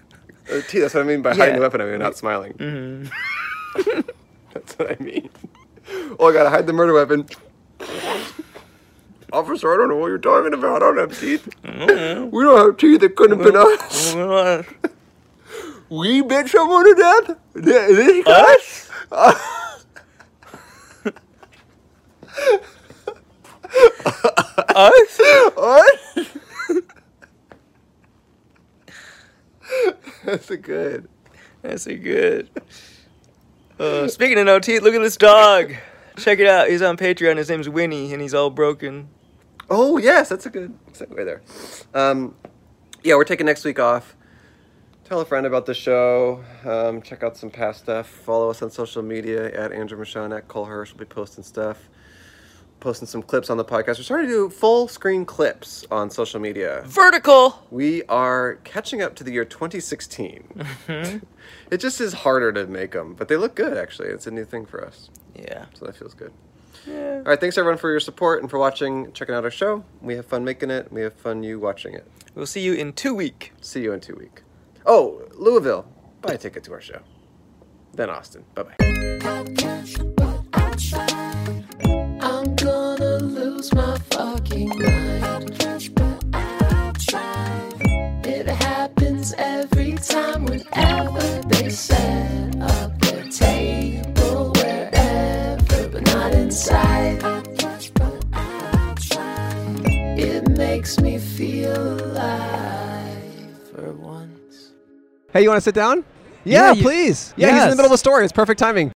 S2: Uh, teeth, that's what I mean by
S1: Yeah.
S2: hiding the weapon. I mean, not smiling. that's what I mean. Oh, I gotta hide the murder weapon. Officer, I don't know what you're talking about. I don't have teeth. we don't have teeth. It couldn't have been us. we bit someone to death? Th- This
S1: Uh,
S2: guy? Us? That's a good.
S1: That's a good. Uh, speaking of no teeth, look at this dog. Check it out. He's on Patreon. His name's Winnie, and he's all broken.
S2: Oh yes, that's a good segue there. Um, yeah, we're taking next week off. Tell a friend about the show. Um, check out some past stuff. Follow us on social media at Andrew Michon at Cole Hirsch. We'll be posting stuff, posting some clips on the podcast. We're starting to do full screen clips on social media.
S1: Vertical.
S2: We are catching up to the year 2016. it just is harder to make them, but they look good actually. It's a new thing for us,
S1: Yeah.
S2: so that feels good. All right, thanks everyone for your support and for watching, checking out our show. We have fun making it. We have fun you watching it.
S1: We'll see you in two week.
S2: See you in two week. Oh, Louisville, buy a ticket to our show. Then Austin. Bye bye.
S3: I'm gonna lose my fucking mind. It happens every time whenever they set up their table wherever, but not inside. It makes me feel alive for once.
S12: Hey, you want to sit down?
S13: Yeah,
S12: Yeah,
S13: you-
S12: please. Yeah, he's in the
S13: Yes.
S12: middle of a story. It's perfect timing.